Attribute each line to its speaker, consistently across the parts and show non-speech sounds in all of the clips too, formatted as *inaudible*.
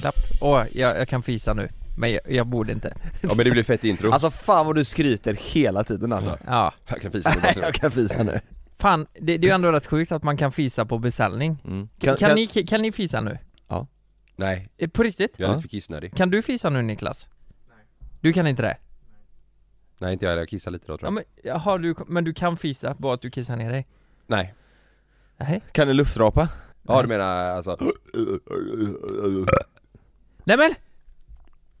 Speaker 1: Klapp. Åh, jag, jag kan fisa nu. Men jag, jag borde inte.
Speaker 2: Ja men det blir fett intro.
Speaker 3: Alltså fan vad du skryter hela tiden alltså.
Speaker 1: Ja.
Speaker 2: jag kan
Speaker 3: *laughs*
Speaker 2: fisa med
Speaker 3: Jag kan fisa nu.
Speaker 1: Fan, det, det är ju ändå rätt sjukt att man kan fisa på beställning.
Speaker 2: mm.
Speaker 1: Kan,
Speaker 3: Kan- kan-
Speaker 1: ni, kan ni fisa nu?
Speaker 2: Nej,
Speaker 1: Eh, På riktigt?
Speaker 2: jag är
Speaker 3: Ja.
Speaker 2: lite för kissnödig.
Speaker 1: Kan du fisa nu Niklas? Du kan inte det?
Speaker 2: Nej inte jag, jag kissar lite då tror
Speaker 1: Ja,
Speaker 2: jag.
Speaker 1: men, jaha, du, men du kan fisa, bara att du kissar ner dig?
Speaker 2: Nej.
Speaker 1: Nej.
Speaker 3: Kan du luftrapa?
Speaker 2: Ja du menar alltså...
Speaker 1: Nej men!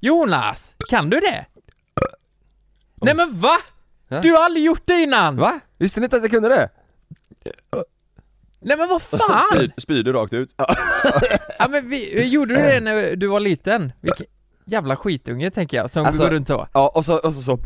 Speaker 1: Jonas! Kan du det? Nej men va?
Speaker 3: Ja.
Speaker 1: Du har aldrig gjort det innan!
Speaker 3: Va? Visste ni inte att jag kunde det?
Speaker 1: Nej men vad
Speaker 3: *laughs*
Speaker 1: fan!
Speaker 2: Spyr du rakt ut?
Speaker 1: ja, men vi, eh, gjorde du det när du var liten? Vilken jävla skitunge tänker jag, som
Speaker 3: Alltså-
Speaker 1: går runt så.
Speaker 3: Ja, och så, och så, så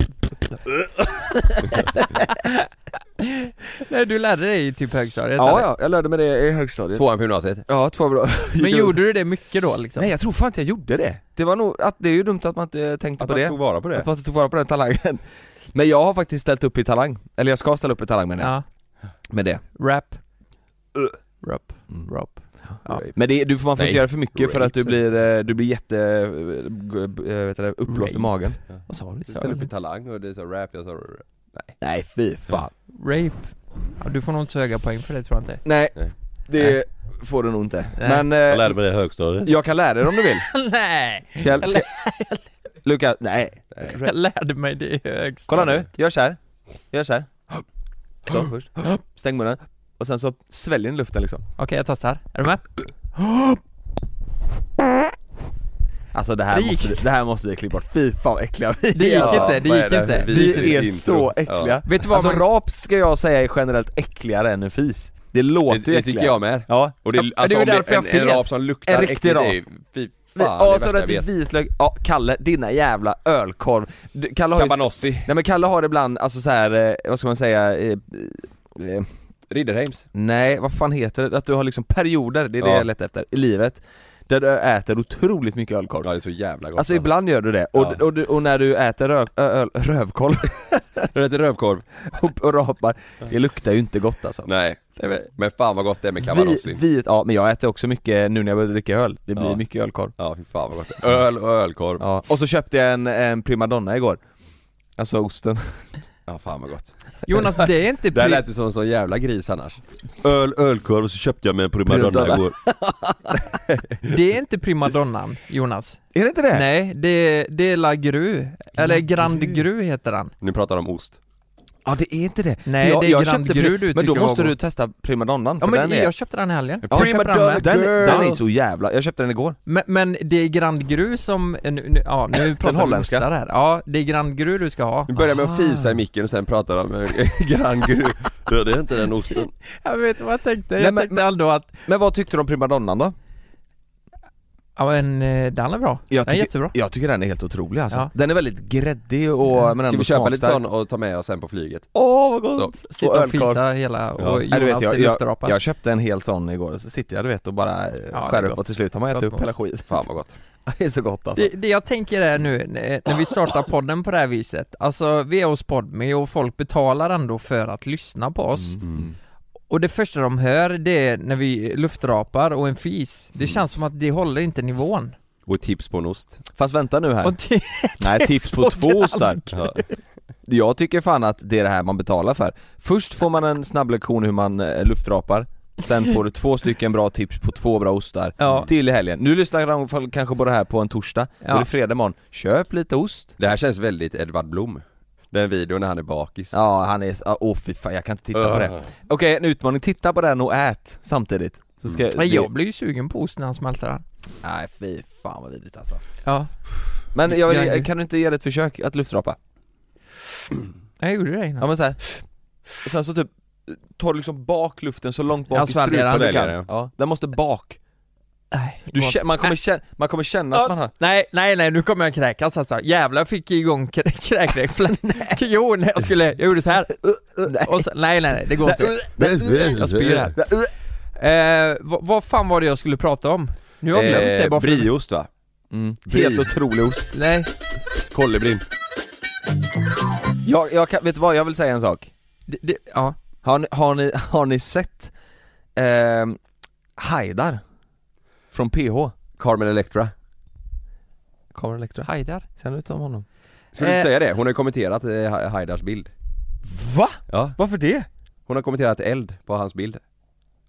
Speaker 1: Nej du lärde dig i typ högstadiet
Speaker 3: Ja,
Speaker 1: eller?
Speaker 3: ja, jag lärde mig det i högstadiet.
Speaker 2: Tvåan på gymnasiet?
Speaker 3: Ja, två bra. *laughs*
Speaker 1: Men gjorde du det mycket då liksom?
Speaker 3: Nej jag tror fan inte jag gjorde det. Det var nog, att det är ju dumt att man inte tänkte
Speaker 2: Att
Speaker 3: på
Speaker 2: man
Speaker 3: det.
Speaker 2: tog vara på
Speaker 3: Att
Speaker 2: det?
Speaker 3: man inte tog vara på den talangen. *laughs* Men jag har faktiskt ställt upp i Talang. Eller jag ska ställa upp i Talang menar jag.
Speaker 1: Ja,
Speaker 3: Med det.
Speaker 1: rap
Speaker 3: Ugh.
Speaker 1: Rap,
Speaker 3: Mm.
Speaker 1: rap Ja.
Speaker 2: Rape.
Speaker 3: Men det, du får man får
Speaker 2: Nej.
Speaker 3: inte göra för mycket för
Speaker 2: Rape.
Speaker 3: att du blir, eh, du blir jätte, eh, g- b- eh, vet du, det, uppblåst
Speaker 1: Rape.
Speaker 3: i magen.
Speaker 2: Ja.
Speaker 3: Vad sa du?
Speaker 2: Du ställde upp i Talang och det sa rap, jag sa...
Speaker 3: Nej fy fan.
Speaker 1: Rape ja, Du får nog inte så höga poäng för det tror jag inte *laughs*
Speaker 3: Nej,
Speaker 2: Nej.
Speaker 3: det får du nog inte.
Speaker 1: Nej.
Speaker 3: Men eh,
Speaker 2: Jag
Speaker 3: jag,
Speaker 2: lärde mig det i högstadiet.
Speaker 3: kan lära dig om
Speaker 2: *laughs*
Speaker 3: du vill.
Speaker 1: Nej!
Speaker 3: Ska jag, ska... Luka, nej.
Speaker 1: Jag lärde mig det i högstadiet
Speaker 3: Kolla nu, gör så här. Gör så här. Så först. Stäng munnen. Och sen så sväljer ni luften liksom.
Speaker 1: Okej jag testar, är du med?
Speaker 3: Alltså det här,
Speaker 1: Det gick.
Speaker 3: måste, vi- det här måste vi klippa bort. Fy fan vad äckliga vi
Speaker 1: Det gick inte, det
Speaker 3: vad
Speaker 1: gick
Speaker 3: är här för
Speaker 1: inte.
Speaker 3: Vi,
Speaker 2: Det gick
Speaker 3: är
Speaker 2: inte.
Speaker 3: så
Speaker 2: Intro.
Speaker 3: äckliga.
Speaker 1: Vet du vad
Speaker 3: alltså
Speaker 1: man...
Speaker 3: rap ska jag säga är generellt äckligare än en fis. Det låter
Speaker 2: Det, det
Speaker 3: ju
Speaker 2: tycker
Speaker 3: äckligare.
Speaker 2: jag med.
Speaker 3: Ja.
Speaker 2: Och det,
Speaker 1: Ja, det är
Speaker 2: alltså,
Speaker 1: ju
Speaker 2: om
Speaker 1: därför
Speaker 2: det
Speaker 1: jag
Speaker 2: är en, en
Speaker 1: fes.
Speaker 2: rap som luktar
Speaker 3: En riktig
Speaker 2: äckligt,
Speaker 3: rap.
Speaker 2: det är fy fan
Speaker 3: Ja,
Speaker 2: det
Speaker 3: och
Speaker 2: värsta
Speaker 3: så
Speaker 2: jag
Speaker 3: det
Speaker 2: vet.
Speaker 3: typ vitlök, ja Kalle, dina jävla ölkorv. Du, Kalle har ju
Speaker 2: Cabanossi,
Speaker 3: Nej men Kalle har ibland, alltså så här, eh, vad ska man säga, eh, eh,
Speaker 2: Ridderheims.
Speaker 3: nej vad fan heter det? Att du har liksom perioder, det är det
Speaker 2: Ja.
Speaker 3: jag letar efter, i livet, där du äter otroligt mycket
Speaker 2: Ja
Speaker 3: ölkorv.
Speaker 2: det är så jävla gott
Speaker 3: Alltså ibland gör du det, och,
Speaker 2: Ja.
Speaker 3: och, du- och när du äter röv, ö, öl, rövkorv *laughs*
Speaker 2: Det heter rövkorv.
Speaker 3: och, och rapar, det luktar ju inte gott alltså.
Speaker 2: Nej, men fan vad gott det är med
Speaker 3: Vi,
Speaker 2: Cabanossi.
Speaker 3: vi, ja men jag äter också mycket nu när jag börjar dricka öl, det blir
Speaker 2: Ja.
Speaker 3: mycket ölkorv.
Speaker 2: Ja fy fan vad gott. det är. Öl och ölkorv.
Speaker 3: Ja. Och så köpte jag en, en primadonna igår. Alltså osten. *laughs*
Speaker 2: Ja fan vad gott.
Speaker 1: Jonas det är inte
Speaker 2: Det här
Speaker 1: pri-
Speaker 2: lät ju som en sån jävla gris annars. Öl, ölkorv och så köpte jag mig en
Speaker 3: Primadonna.
Speaker 2: igår.
Speaker 1: Det är inte primadonnan, Jonas.
Speaker 3: Är det inte det?
Speaker 1: Nej, det, det är La Gru. Eller Grand Gru heter han.
Speaker 2: Nu pratar de om ost.
Speaker 3: Ja det är inte det.
Speaker 1: Nej,
Speaker 3: För
Speaker 1: det är Grand
Speaker 3: köpte
Speaker 1: Gru
Speaker 3: pri-
Speaker 1: du
Speaker 3: Men då
Speaker 1: tycker var
Speaker 3: måste du
Speaker 1: god.
Speaker 3: testa primadonnan, för
Speaker 1: Ja men
Speaker 3: den är...
Speaker 1: jag köpte den i helgen.
Speaker 2: Ja,
Speaker 1: Jag köpte den med.
Speaker 3: Den, den är så jävla, jag köpte den igår.
Speaker 1: Men, men det är Grand Gru som, eh, nu, nu, ja
Speaker 3: *laughs*
Speaker 1: nu pratar vi
Speaker 3: holländska.
Speaker 1: ostar här. Ja, det är Grand Gru du ska ha.
Speaker 2: Vi börjar med att fisa i micken och sen pratar de om *laughs* Grand Gru. Det är inte den osten.
Speaker 1: Jag vet vad jag tänkte, jag
Speaker 3: Nej, men-
Speaker 1: tänkte ändå att,
Speaker 3: Men vad tyckte du om primadonnan då?
Speaker 1: ja men eh, den är bra.
Speaker 3: Jag
Speaker 1: den är
Speaker 3: tycker-
Speaker 1: jättebra.
Speaker 3: Jag tycker den är helt otrolig alltså.
Speaker 1: Ja.
Speaker 3: Den är väldigt gräddig och men
Speaker 2: Ska
Speaker 3: ändå
Speaker 2: vi köpa lite
Speaker 3: smakstark.
Speaker 2: sån och ta med oss sen på flyget?
Speaker 1: Åh vad gott!
Speaker 3: Och
Speaker 1: Sitta och
Speaker 3: ölkorv.
Speaker 1: fisa hela och
Speaker 3: Nej, du
Speaker 1: Jonas
Speaker 3: vet, jag, jag,
Speaker 1: luftrapa.
Speaker 3: jag köpte en hel sån igår och så sitter jag du vet och bara eh,
Speaker 1: Ja, det är
Speaker 3: skär upp
Speaker 1: gott.
Speaker 3: och till slut har man
Speaker 1: Gott
Speaker 3: ätit
Speaker 1: med
Speaker 3: upp hela
Speaker 1: ost.
Speaker 3: skiten.
Speaker 2: Fan vad gott.
Speaker 3: *laughs* Det är så gott alltså.
Speaker 1: Det, det jag tänker är nu, när när vi startar podden på det här viset, alltså vi är hos Podme och folk betalar ändå för att lyssna på oss
Speaker 3: Mm.
Speaker 1: Och det första de hör, det är när vi luftrapar och en fis
Speaker 3: Mm.
Speaker 1: Det känns som att det håller inte nivån
Speaker 2: Och ett tips på en ost.
Speaker 3: Fast vänta nu här.
Speaker 1: Och det, *laughs*
Speaker 3: Nej tips på
Speaker 1: Export
Speaker 3: två
Speaker 1: till
Speaker 3: ostar.
Speaker 2: Ja.
Speaker 3: Jag tycker fan att det är det här man betalar för. Först får man en snabb lektion hur man eh, luftrapar, sen får du två stycken bra tips på två bra ostar
Speaker 1: Ja.
Speaker 3: till i helgen. Nu lyssnar de fall- kanske på det här på en torsdag, då
Speaker 1: Ja.
Speaker 3: är det fredag morgon. Köp lite ost.
Speaker 2: Det här känns väldigt Edvard Blom. Den videon när han är bakis.
Speaker 3: Ja, han är, s- ah, åh fy fan, jag kan inte titta på det.
Speaker 2: Ah.
Speaker 3: Okej, en utmaning, titta på den och ät samtidigt. Så ska
Speaker 1: men
Speaker 3: det-
Speaker 1: jag blir ju sugen på ost när han smälter den
Speaker 3: Nej fy fan vad vidrigt alltså.
Speaker 1: Ja,
Speaker 3: Men jag
Speaker 1: Jag-
Speaker 3: vill, kan du inte ge det ett försök att luftrapa?
Speaker 1: jag gjorde det innan
Speaker 3: Ja men såhär, och sen så typ tar du liksom bak luften så långt bak
Speaker 1: Ja,
Speaker 3: i
Speaker 1: Sverige,
Speaker 3: strupen du
Speaker 2: Sverige,
Speaker 3: kan.
Speaker 2: ja.
Speaker 3: Ja, Äh. den måste bak.
Speaker 1: Nej,
Speaker 3: Du
Speaker 1: vad-
Speaker 3: kä- man, kommer känna, man kommer känna att man har...
Speaker 1: Nej, nej, nej, nu kommer jag kräkas alltså. Jävlar, jag fick igång krä-
Speaker 3: *laughs*
Speaker 1: kräkräfflan. jo, när jag skulle, jag gjorde så här. Och så, nej, nej, nej, det går inte. Jag spyr här. Eh, vad, vad fan var det jag skulle prata om? Nu har jag glömt
Speaker 3: Eh,
Speaker 1: det bara för...
Speaker 2: Eh, Brieost va?
Speaker 3: Mm.
Speaker 2: Bri.
Speaker 3: Helt otrolig ost.
Speaker 1: Nej,
Speaker 2: Kolibrin.
Speaker 3: Jag, jag kan, vet du vad, jag vill säga en sak.
Speaker 1: det, det, ja.
Speaker 3: Har ni, har ni, har ni sett ehm, Haidar? Från PH?
Speaker 2: Carmen Electra.
Speaker 3: Kameran Elektra.
Speaker 1: Haidar.
Speaker 3: Känner du inte om honom?
Speaker 2: Ska du inte
Speaker 1: Eh.
Speaker 2: säga det? Hon har ju kommenterat eh, Ha- Haidars bild.
Speaker 3: Va?
Speaker 2: Ja.
Speaker 3: Varför det?
Speaker 2: Hon har kommenterat eld på hans bild.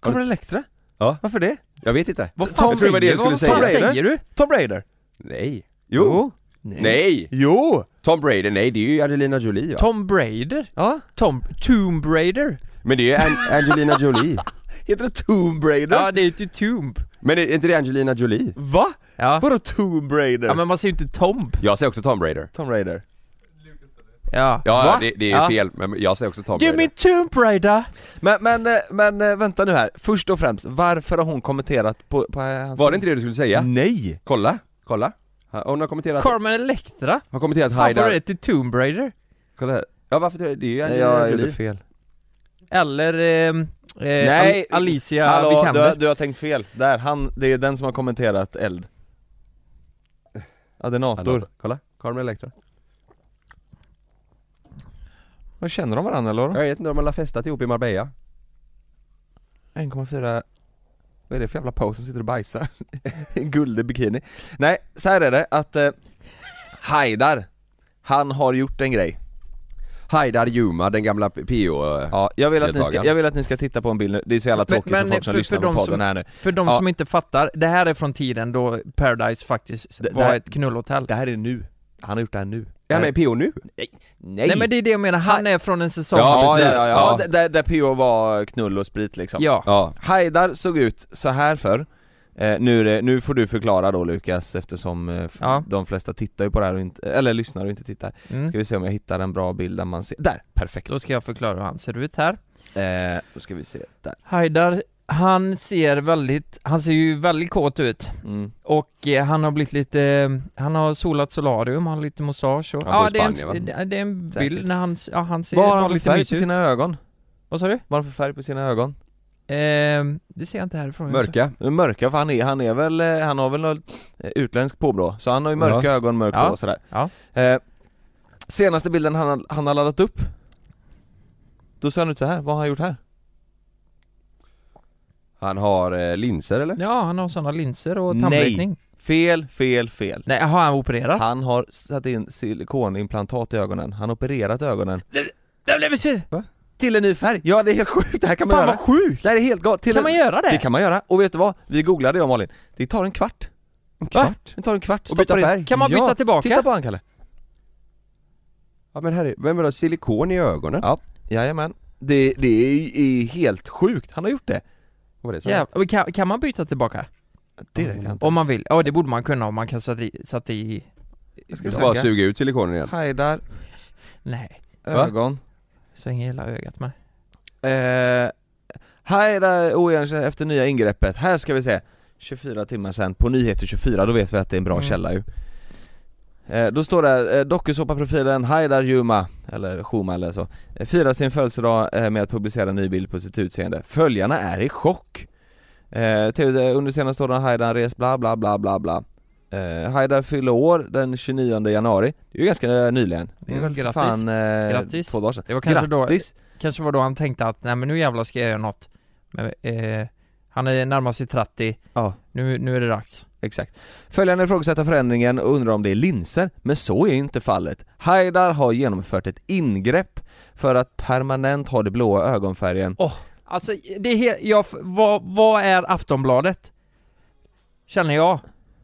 Speaker 3: Kameran Elektra?
Speaker 2: Ja.
Speaker 3: Varför det?
Speaker 2: Jag vet inte.
Speaker 1: Vad
Speaker 2: T-
Speaker 1: fan
Speaker 2: jag tror var det
Speaker 1: säger-
Speaker 2: du skulle
Speaker 1: vad fan
Speaker 2: säga.
Speaker 3: säger
Speaker 1: säger du?
Speaker 3: Tom Raider?
Speaker 2: Nej. Jo. Nej!
Speaker 3: Jo!
Speaker 2: Tom Brady, nej det är ju Angelina Jolie va?
Speaker 1: Tom Braider?
Speaker 3: Ja?
Speaker 1: Tom... Tomb Raider?
Speaker 2: Men det är ju An- Angelina Jolie.
Speaker 3: Heter det Tomb Raider?
Speaker 1: Ja, det är ju Tomb.
Speaker 2: Men är inte det Angelina Jolie?
Speaker 3: Va?
Speaker 1: Ja.
Speaker 3: Vadå Tomb Raider?
Speaker 1: ja, men man säger ju inte Tomb.
Speaker 2: Jag säger också Tom Brady.
Speaker 3: Tom Raider.
Speaker 1: Ja.
Speaker 2: Ja,
Speaker 3: Va?
Speaker 2: det, det är ju
Speaker 1: Ja.
Speaker 2: fel, men jag säger också Tom
Speaker 1: Give me
Speaker 2: Brady.
Speaker 1: Tomb Raider!
Speaker 3: Men, men, eh, men eh, vänta nu här. Först och främst, varför har hon kommenterat på, på eh, hans...
Speaker 2: Var det inte det du skulle säga?
Speaker 3: Nej!
Speaker 2: Kolla, kolla. Ha- Hon har kommenterat,
Speaker 1: Carmen Electra?
Speaker 2: har kommenterat
Speaker 1: Fan vad det
Speaker 2: Haidar.
Speaker 1: är till Tomb Raider?
Speaker 2: Kolla här. Ja varför tror jag- det är ju
Speaker 3: Nej,
Speaker 2: Angelina
Speaker 3: jag gjorde
Speaker 2: Jolie.
Speaker 3: fel.
Speaker 1: Eller ehm, eh,
Speaker 3: Nej.
Speaker 1: Al- Alicia
Speaker 3: Hallå, du,
Speaker 1: Vikander?
Speaker 3: har- du har tänkt fel. Där, han, det är den som har kommenterat eld. Adenator.
Speaker 2: Kolla, Kolla, Carmen Electra.
Speaker 3: Vad känner de varandra eller?
Speaker 2: Jag vet inte om alla festat ihop i Marbella.
Speaker 3: 1,4 Vad är det för jävla pose som sitter och bajsar? *laughs* En guldig bikini. Nej, så här är det att eh, Haidar, han har gjort en grej.
Speaker 2: Haidar Juma, den gamla PO... Ja.
Speaker 3: Ja, jag vill att, ni ska,
Speaker 2: Deltagaren.
Speaker 3: jag vill att ni ska titta på en bild nu. Det är så jävla
Speaker 1: Men-
Speaker 3: tråkigt
Speaker 1: men
Speaker 3: för folk som
Speaker 1: för-
Speaker 3: lyssnar
Speaker 1: för
Speaker 3: på
Speaker 1: de
Speaker 3: podden
Speaker 1: som-
Speaker 3: här nu.
Speaker 1: För de
Speaker 3: Ja.
Speaker 1: som inte fattar, det här är från tiden då Paradise faktiskt
Speaker 3: Det- det
Speaker 1: var
Speaker 3: här-
Speaker 1: ett knullhotell.
Speaker 3: Det här är nu. Han har gjort det här nu.
Speaker 2: Är han med i PO nu?
Speaker 3: Nej!
Speaker 1: Nej. men det är det jag menar, han är från en säsong
Speaker 3: ja, ja,
Speaker 1: precis.
Speaker 3: ja, ja.
Speaker 2: Ja.
Speaker 3: d- Där, där PO var knull och sprit liksom.
Speaker 1: Ja.
Speaker 2: Ja.
Speaker 3: Haidar såg ut så här för eh, nu, är det, nu får du förklara då Lukas eftersom eh, f-
Speaker 1: Ja.
Speaker 3: de flesta tittar ju på det här och inte, eller lyssnar och inte tittar.
Speaker 1: Mm.
Speaker 3: Ska vi se om jag hittar en bra bild där man ser, där! Perfekt!
Speaker 1: Då ska jag förklara hur han ser ut här.
Speaker 3: Eh, då ska vi se, där.
Speaker 1: Haidar, han ser väldigt, han ser ju väldigt kåt ut.
Speaker 3: Mm.
Speaker 1: Och eh, han har blivit lite, eh, han har solat solarium, han har lite mustasch och...
Speaker 2: Han bor i
Speaker 1: det, är
Speaker 2: Spanien,
Speaker 1: en,
Speaker 2: va?
Speaker 1: det- det är en
Speaker 3: Säkert.
Speaker 1: bild när han, ja han ser,
Speaker 3: Vad har han
Speaker 1: har
Speaker 3: för
Speaker 1: lite
Speaker 3: färg på
Speaker 1: mysig ut.
Speaker 3: sina ögon?
Speaker 1: Vad sa du?
Speaker 3: Vad har han för färg på sina ögon?
Speaker 1: Ehm, det ser jag inte härifrån.
Speaker 2: Mörka.
Speaker 3: De är Mörka, för han är, han är väl, eh, han har väl något eh, utlänskt påbrå, så han har ju mörka ögon, mörk
Speaker 1: Ja.
Speaker 3: hår och sådär
Speaker 1: Ja.
Speaker 3: eh, Senaste bilden han, har- han har laddat upp Då ser han ut så här. vad har han gjort här?
Speaker 2: Han har eh, linser eller?
Speaker 1: Ja, han har sådana linser och
Speaker 3: Nej.
Speaker 1: tandbrytning. Nej.
Speaker 3: Fel, fel, fel
Speaker 1: Nej, har han opererat?
Speaker 3: Han har satt in silikonimplantat i ögonen, han har opererat ögonen
Speaker 1: Nej, nej, men-
Speaker 3: Till en ny färg! Ja det är helt sjukt, det här kan man
Speaker 1: Fan
Speaker 3: göra!
Speaker 1: vad sjukt!
Speaker 3: Det här är helt galet! Till
Speaker 1: Kan
Speaker 3: en...
Speaker 1: man göra det?
Speaker 3: Det kan man göra, och vet du vad? Vi googlade jag och Malin, det tar en kvart
Speaker 2: En
Speaker 1: Va?
Speaker 3: Det tar en kvart,
Speaker 2: Och byta
Speaker 3: stoppar in-
Speaker 2: färg?
Speaker 1: Kan man byta
Speaker 3: ja.
Speaker 1: tillbaka?
Speaker 3: Titta på han Kalle!
Speaker 2: Ja men herre, vem vill ha silikon i ögonen?
Speaker 3: Ja, jajamän det, det är, är helt sjukt, han har gjort det!
Speaker 2: Vad var det så?
Speaker 1: Jävlar. Men Kan, kan man byta tillbaka?
Speaker 3: Det vet jag inte
Speaker 1: Om man vill? Ja det borde man kunna om man kan sätta i... Sätta i
Speaker 3: Jag ska
Speaker 2: Jag ska bara
Speaker 3: söka,
Speaker 2: suga ut silikonen igen.
Speaker 3: hajdar,
Speaker 1: nej,
Speaker 2: Va?
Speaker 3: ögon
Speaker 1: svänger hela ögat med.
Speaker 3: eh, Hajdar oigenkänd efter nya ingreppet, här ska vi se 24 timmar sen, på nyheter 24, då vet vi att det är en bra
Speaker 1: Mm.
Speaker 3: källa ju eh, Då står det här, eh, dokusåpaprofilen Haidar Juma, eller Shuma eller så eh, Firar sin födelsedag eh, med att publicera en ny bild på sitt utseende, följarna är i chock eh, till, eh, Under senaste åren har Haidar rest bla bla bla bla bla Eh, Haidar fyller år den 29 januari, det är ju ganska eh, nyligen Det är
Speaker 1: Mm,
Speaker 3: väl för
Speaker 1: grattis.
Speaker 3: fan eh,
Speaker 1: Grattis.
Speaker 3: två dagar sedan
Speaker 1: Det var kanske
Speaker 3: Grattis!
Speaker 1: då, kanske var då han tänkte att nej men nu jävlar ska jag göra något. Men, eh, han är närmar sig 30,
Speaker 3: Ja,
Speaker 1: nu, nu är det dags.
Speaker 3: exakt. Följande ifrågasätter förändringen och undrar om det är linser, men så är inte fallet. Haidar har genomfört ett ingrepp för att permanent ha den blåa ögonfärgen.
Speaker 1: Alltså det är he- jag, f- vad, vad är Aftonbladet? Känner jag.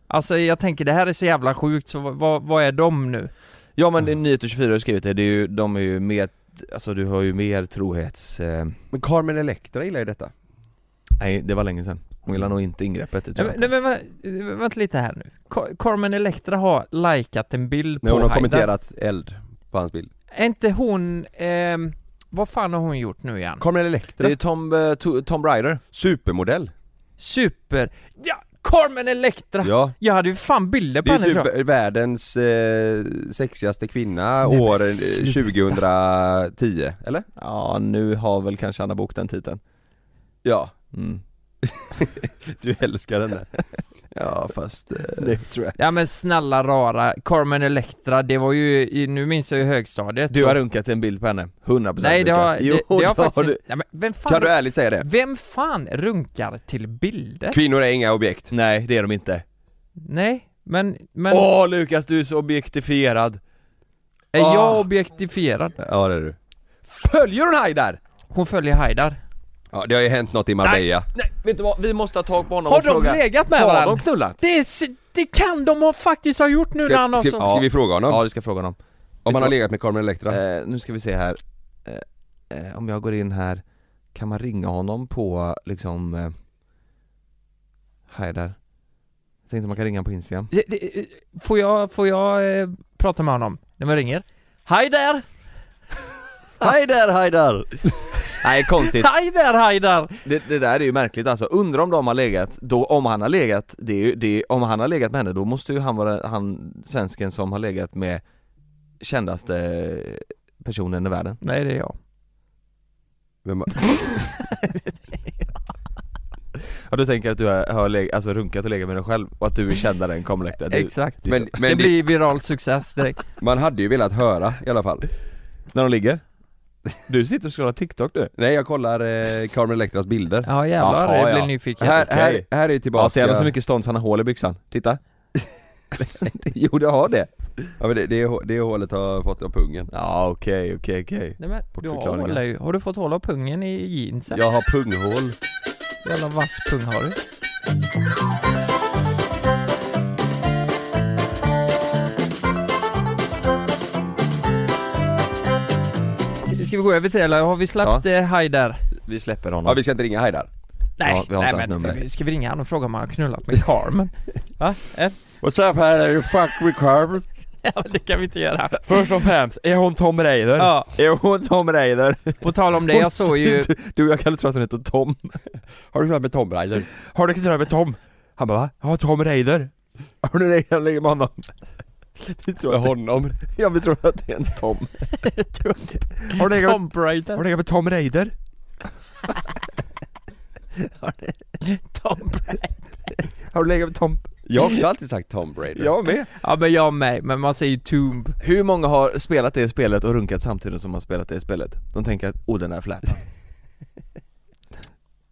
Speaker 1: Alltså jag tänker det här är så jävla sjukt så vad- vad, vad är de nu?
Speaker 3: Ja men
Speaker 1: Mm.
Speaker 3: det är Nyheter 24 har skrivit det, det är ju, de är ju mer, alltså du har ju mer trohets... Eh,
Speaker 2: Men Carmen Electra gillar ju detta.
Speaker 3: nej, det var länge sedan. Hon gillar nog inte ingreppet, det tror
Speaker 1: Mm. Nej,
Speaker 3: jag
Speaker 1: men,
Speaker 3: inte.
Speaker 1: nej, men vä- vänta lite här nu. Car- Carmen Electra har likat en bild
Speaker 2: När
Speaker 1: på
Speaker 2: hon har
Speaker 1: Haidar.
Speaker 2: kommenterat eld på hans bild.
Speaker 1: Är inte hon... ehm, vad fan har hon gjort nu igen?
Speaker 2: Carmen Electra,
Speaker 3: Det är Tom, eh, To- Tom Ryder.
Speaker 2: supermodell.
Speaker 1: Super... Ja, Carmen Electra!
Speaker 2: Ja.
Speaker 1: Jag hade ju fan bilder på
Speaker 2: Det är
Speaker 1: henne
Speaker 2: ju
Speaker 1: tror jag.
Speaker 2: typ världens eh, sexigaste kvinna
Speaker 1: men
Speaker 2: åren
Speaker 1: sluta.
Speaker 2: 2010, eller?
Speaker 3: Ja, nu har väl kanske Anna Bok den titeln.
Speaker 2: Ja,
Speaker 3: Mm.
Speaker 2: du älskar henne. ja, fast... Eh, det tror jag.
Speaker 1: Ja men snälla rara, Carmen Electra, det var ju, i- nu minns jag ju högstadiet
Speaker 3: Du har
Speaker 1: Och-
Speaker 3: runkat en bild på henne, 100%
Speaker 1: Nej det
Speaker 3: Lukas.
Speaker 1: har,
Speaker 2: Jo,
Speaker 1: det, det
Speaker 2: det
Speaker 1: har
Speaker 2: har
Speaker 1: faktiskt
Speaker 2: du.
Speaker 1: inte, nej, men vem fan,
Speaker 2: Kan du ärligt säga det?
Speaker 1: vem fan runkar till bilder?
Speaker 2: Kvinnor är inga objekt.
Speaker 3: Nej, det är de inte.
Speaker 1: Nej, men, men,
Speaker 3: Åh Lukas, du är så objektifierad!
Speaker 1: är
Speaker 3: ah.
Speaker 1: jag objektifierad?
Speaker 2: Ja, det är du.
Speaker 3: Följer hon Haidar?
Speaker 1: Hon följer Haidar
Speaker 2: Ja, det har ju hänt något i Marbella.
Speaker 3: Nej, vet du vad? Vi måste ha tag på honom
Speaker 1: Har
Speaker 3: och
Speaker 1: de
Speaker 3: fråga.
Speaker 1: legat med
Speaker 3: Har
Speaker 1: varandra?
Speaker 3: de knullat?
Speaker 1: Det, är s- det kan de ha faktiskt ha gjort nu när han
Speaker 2: Ska,
Speaker 1: har
Speaker 2: ska,
Speaker 1: så...
Speaker 2: ska vi fråga honom?
Speaker 3: Ja, du ska fråga honom.
Speaker 2: Om han har
Speaker 3: vet du-
Speaker 2: legat med Carmen Electra?
Speaker 3: Eh, nu ska vi se här, eh, eh, om jag går in här, kan man ringa honom på liksom eh, Haidar? Jag tänkte man kan ringa honom på Instagram.
Speaker 1: Det- det- eh, Får jag, får jag eh, prata med honom när man ringer? Hej där!
Speaker 2: Hej där, hej där!
Speaker 3: Nej konstigt,
Speaker 1: Hej där Haidar!
Speaker 3: det, det där är ju märkligt alltså. Undrar om de har legat, då, om han har legat, det är ju, det är, om han har legat med henne då måste ju han vara han svensken som har legat med kändaste personen i *laughs* världen.
Speaker 1: Nej det är jag
Speaker 2: Vem,
Speaker 3: Ja du tänker att du har, har leg, alltså runkat och legat med dig själv och att du är kändare än Carmen Electra. Du-
Speaker 1: Exakt
Speaker 2: men men
Speaker 1: det
Speaker 2: det
Speaker 1: blir viral success direkt
Speaker 3: *laughs*
Speaker 2: man hade ju velat höra i alla fall.
Speaker 3: När de ligger? *laughs* Du sitter och scrollar TikTok du.
Speaker 2: Nej, jag kollar eh, Carmen Electras bilder.
Speaker 1: Ja jävlar,
Speaker 3: Jaha,
Speaker 1: jag blir
Speaker 3: ja.
Speaker 1: nyfiken
Speaker 2: Här,
Speaker 3: okej.
Speaker 2: här, här är ju
Speaker 3: Ja,
Speaker 2: tillbaka...
Speaker 3: ser han så mycket *laughs* stånd så han har hål i byxan? Titta!
Speaker 2: jo, det har det. Ja, men det, det, det hålet har fått av pungen.
Speaker 3: Ja okej, okej, okej
Speaker 1: Nej, men, du har,
Speaker 3: Bortförklaringar.
Speaker 1: hål ju. har du fått hålla pungen i jeansen?
Speaker 2: Jag har punghål.
Speaker 1: Jävla vass pung har du Ska vi gå över till det eller har vi släppt ja. Haider?
Speaker 3: Vi släpper honom
Speaker 2: Ja, vi ska inte ringa Haidar.
Speaker 1: Nej,
Speaker 3: Ja, vi har inte
Speaker 1: nej
Speaker 3: hans nummer.
Speaker 1: men ska vi ringa han och fråga om han har knullat med
Speaker 3: *laughs*
Speaker 1: Carmen? Va? Eh?
Speaker 2: What's up Haidar, you fuck with Carmen?
Speaker 1: Ja men det kan vi inte göra
Speaker 3: Först och främst, är hon Tom Raider?
Speaker 1: Ja,
Speaker 3: Är hon Tom Raider?
Speaker 1: på tal om det, jag såg ju
Speaker 3: *laughs* Du, du, jag kan tro att hon heter Tom
Speaker 2: Har du kört med Tom Raider?
Speaker 3: Har du knullat med Tom? Han bara va? Ja, Tom Raider Har du legat- legat med honom? Vi tror
Speaker 2: Med
Speaker 3: att det,
Speaker 2: honom?
Speaker 3: ja, vi tror att det är en Tom
Speaker 1: *laughs*
Speaker 3: Har du legat med,
Speaker 1: Tom Brady
Speaker 3: har du legat med Tom Raider?
Speaker 1: Tom
Speaker 3: Har du legat med Tom?
Speaker 2: Jag har också alltid sagt Tom Raider.
Speaker 3: Jag med
Speaker 1: *laughs* Ja men jag med, men man säger ju Tomb
Speaker 3: Hur många har spelat det spelet och runkat samtidigt som man spelat det spelet? De tänker att oh den där flätan,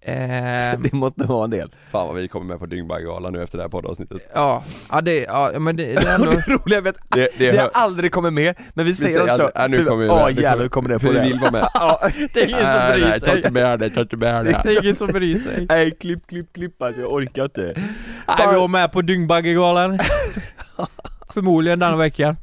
Speaker 1: Ehm,
Speaker 3: *laughs* det måste vara en del
Speaker 2: Fan vad vi kommer med på Dyngbaggegalan nu efter det här poddavsnittet.
Speaker 1: Ja, ja det, ja men det, det är ändå
Speaker 3: roliga är att
Speaker 2: Det,
Speaker 3: det,
Speaker 2: det,
Speaker 3: har aldrig kommit med, men vi säger
Speaker 2: säger
Speaker 3: alltså
Speaker 2: aldrig- ja, nu kommer vi med,
Speaker 3: Ja
Speaker 2: nu kommer-
Speaker 3: jävlar, kommer det på
Speaker 2: vi
Speaker 3: det
Speaker 2: vill vara med.
Speaker 3: *laughs* Ja,
Speaker 1: *laughs* Det är ingen som
Speaker 2: Nej,
Speaker 1: bryr
Speaker 2: nej, Ta
Speaker 1: sig
Speaker 2: inte med det, ta inte med det.
Speaker 1: Det är ingen som bryr sig
Speaker 3: Nej klipp, klipp, klipp alltså, jag orkar inte
Speaker 1: *laughs* Nej vi var med på *laughs* Dyngbaggegalan Förmodligen denna *laughs* veckan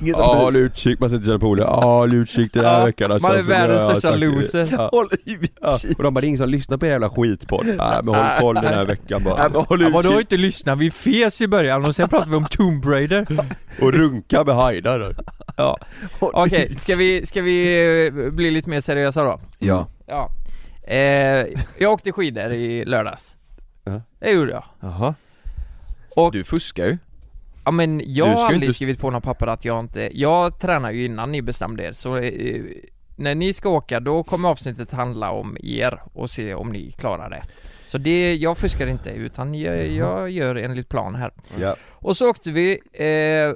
Speaker 3: Ingen som
Speaker 2: Ja,
Speaker 3: bryr
Speaker 2: håll
Speaker 3: sig
Speaker 2: utkik, man sätter sina polare. Ja, håll utkik den här
Speaker 1: Ja,
Speaker 2: veckan alltså.
Speaker 1: Man är
Speaker 2: Så jag
Speaker 1: världens
Speaker 2: har
Speaker 1: största
Speaker 2: sagt det.
Speaker 1: loser
Speaker 2: Ja.
Speaker 3: Håll utkik!
Speaker 2: Ja. Och de bara, det är ingen som lyssnar på er jävla *laughs* skitpodd. Nej, men håll koll den här veckan
Speaker 3: Ja,
Speaker 2: bara.
Speaker 3: men håll
Speaker 1: Ja, vadå
Speaker 3: utkik!
Speaker 1: inte lyssna? Vi fes i början och sen pratade vi om Tomb *laughs* Raider
Speaker 2: Och runka med Haidar.
Speaker 1: ja. Okej, ska, vi, ska vi eh, bli lite mer seriösa då?
Speaker 3: Ja
Speaker 1: Ja eh, Jag åkte skidor i lördags
Speaker 2: Ja.
Speaker 1: Det gjorde jag
Speaker 3: Jaha
Speaker 1: Och-
Speaker 3: Du fuskar ju
Speaker 1: Ja men jag har
Speaker 3: Du ska ju
Speaker 1: aldrig
Speaker 3: inte-
Speaker 1: skrivit på några papper att jag inte, jag tränar ju innan ni bestämde er så eh, när ni ska åka då kommer avsnittet handla om er och se om ni klarar det. Så det, jag fuskar inte utan jag, jag gör enligt plan här.
Speaker 2: Ja.
Speaker 1: Och så åkte vi eh,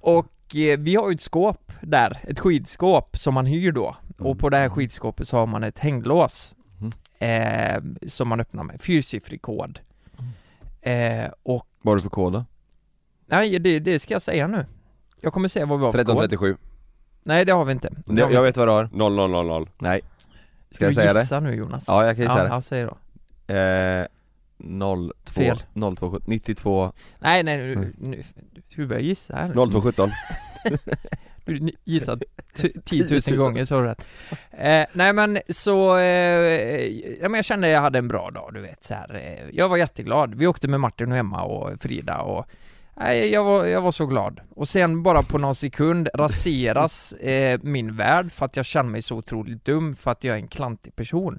Speaker 1: och eh, vi har ju ett skåp där, ett skidskåp som man hyr då. Och på det här skidskåpet så har man ett hänglås
Speaker 3: Mm.
Speaker 1: eh, som man öppnar med, fyrsiffrig kod.
Speaker 3: Mm.
Speaker 1: Eh, och
Speaker 3: Vad har du för kod då?
Speaker 1: Nej, det, det ska jag säga nu. Jag kommer säga vad vi har för kod.
Speaker 2: 1337.
Speaker 1: Nej, det har vi inte. Det har
Speaker 3: Jag,
Speaker 1: vi
Speaker 3: jag
Speaker 1: inte.
Speaker 3: vet vad du har
Speaker 2: 0000.
Speaker 3: Nej Ska
Speaker 1: du
Speaker 3: jag säga det?
Speaker 1: gissa nu Jonas?
Speaker 3: Ja, jag kan gissa
Speaker 1: ja, säg då.
Speaker 3: det eh, 02,
Speaker 1: Fel.
Speaker 3: 02, 92
Speaker 1: Nej, nej, nu,
Speaker 3: Mm.
Speaker 1: nu, du börjar gissa här nu.
Speaker 2: 0217.
Speaker 1: Du ni-
Speaker 3: *laughs*
Speaker 1: gissar t- 10 000 gånger så har du rätt. Eh, nej men så, eh, ja, men jag kände jag hade en bra dag du vet så här. Eh, jag var jätteglad. Vi åkte med Martin och Emma och Frida och Nej, jag var, jag var så glad. Och sen bara på någon sekund raseras eh, min värld för att jag känner mig så otroligt dum för att jag är en klantig person.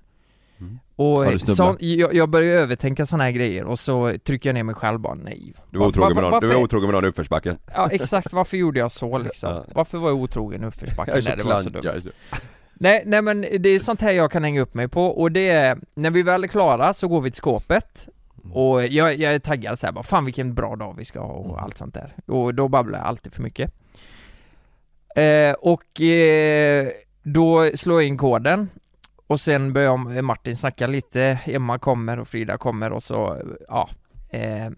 Speaker 2: Mm.
Speaker 1: Och
Speaker 3: Har du snubblat?
Speaker 1: sån, jag, jag börjar ju övertänka sådana här grejer och så trycker jag ner mig själv bara nej.
Speaker 2: Du var otrogen med någon, du var
Speaker 1: varför-
Speaker 2: otrogen med någon i uppförsbacken.
Speaker 1: Ja exakt, varför gjorde jag så liksom?
Speaker 2: Ja.
Speaker 1: Varför var jag otrogen i uppförsbacken?
Speaker 2: Jag är så
Speaker 1: Nej, det var så
Speaker 2: klantig.
Speaker 1: dumt.
Speaker 2: jag är så-
Speaker 1: Nej, nej men det är sånt här jag kan hänga upp mig på och det är, när vi väl är klara så går vi till skåpet
Speaker 2: Mm.
Speaker 1: och jag, jag är taggad såhär bara, fan vilken bra dag vi ska ha
Speaker 2: Mm.
Speaker 1: och allt sånt där. Och då babblar jag alltid för mycket. Eh, och eh, då slår jag in koden och sen börjar Martin snacka lite, Emma kommer och Frida kommer och så, ja. Eh,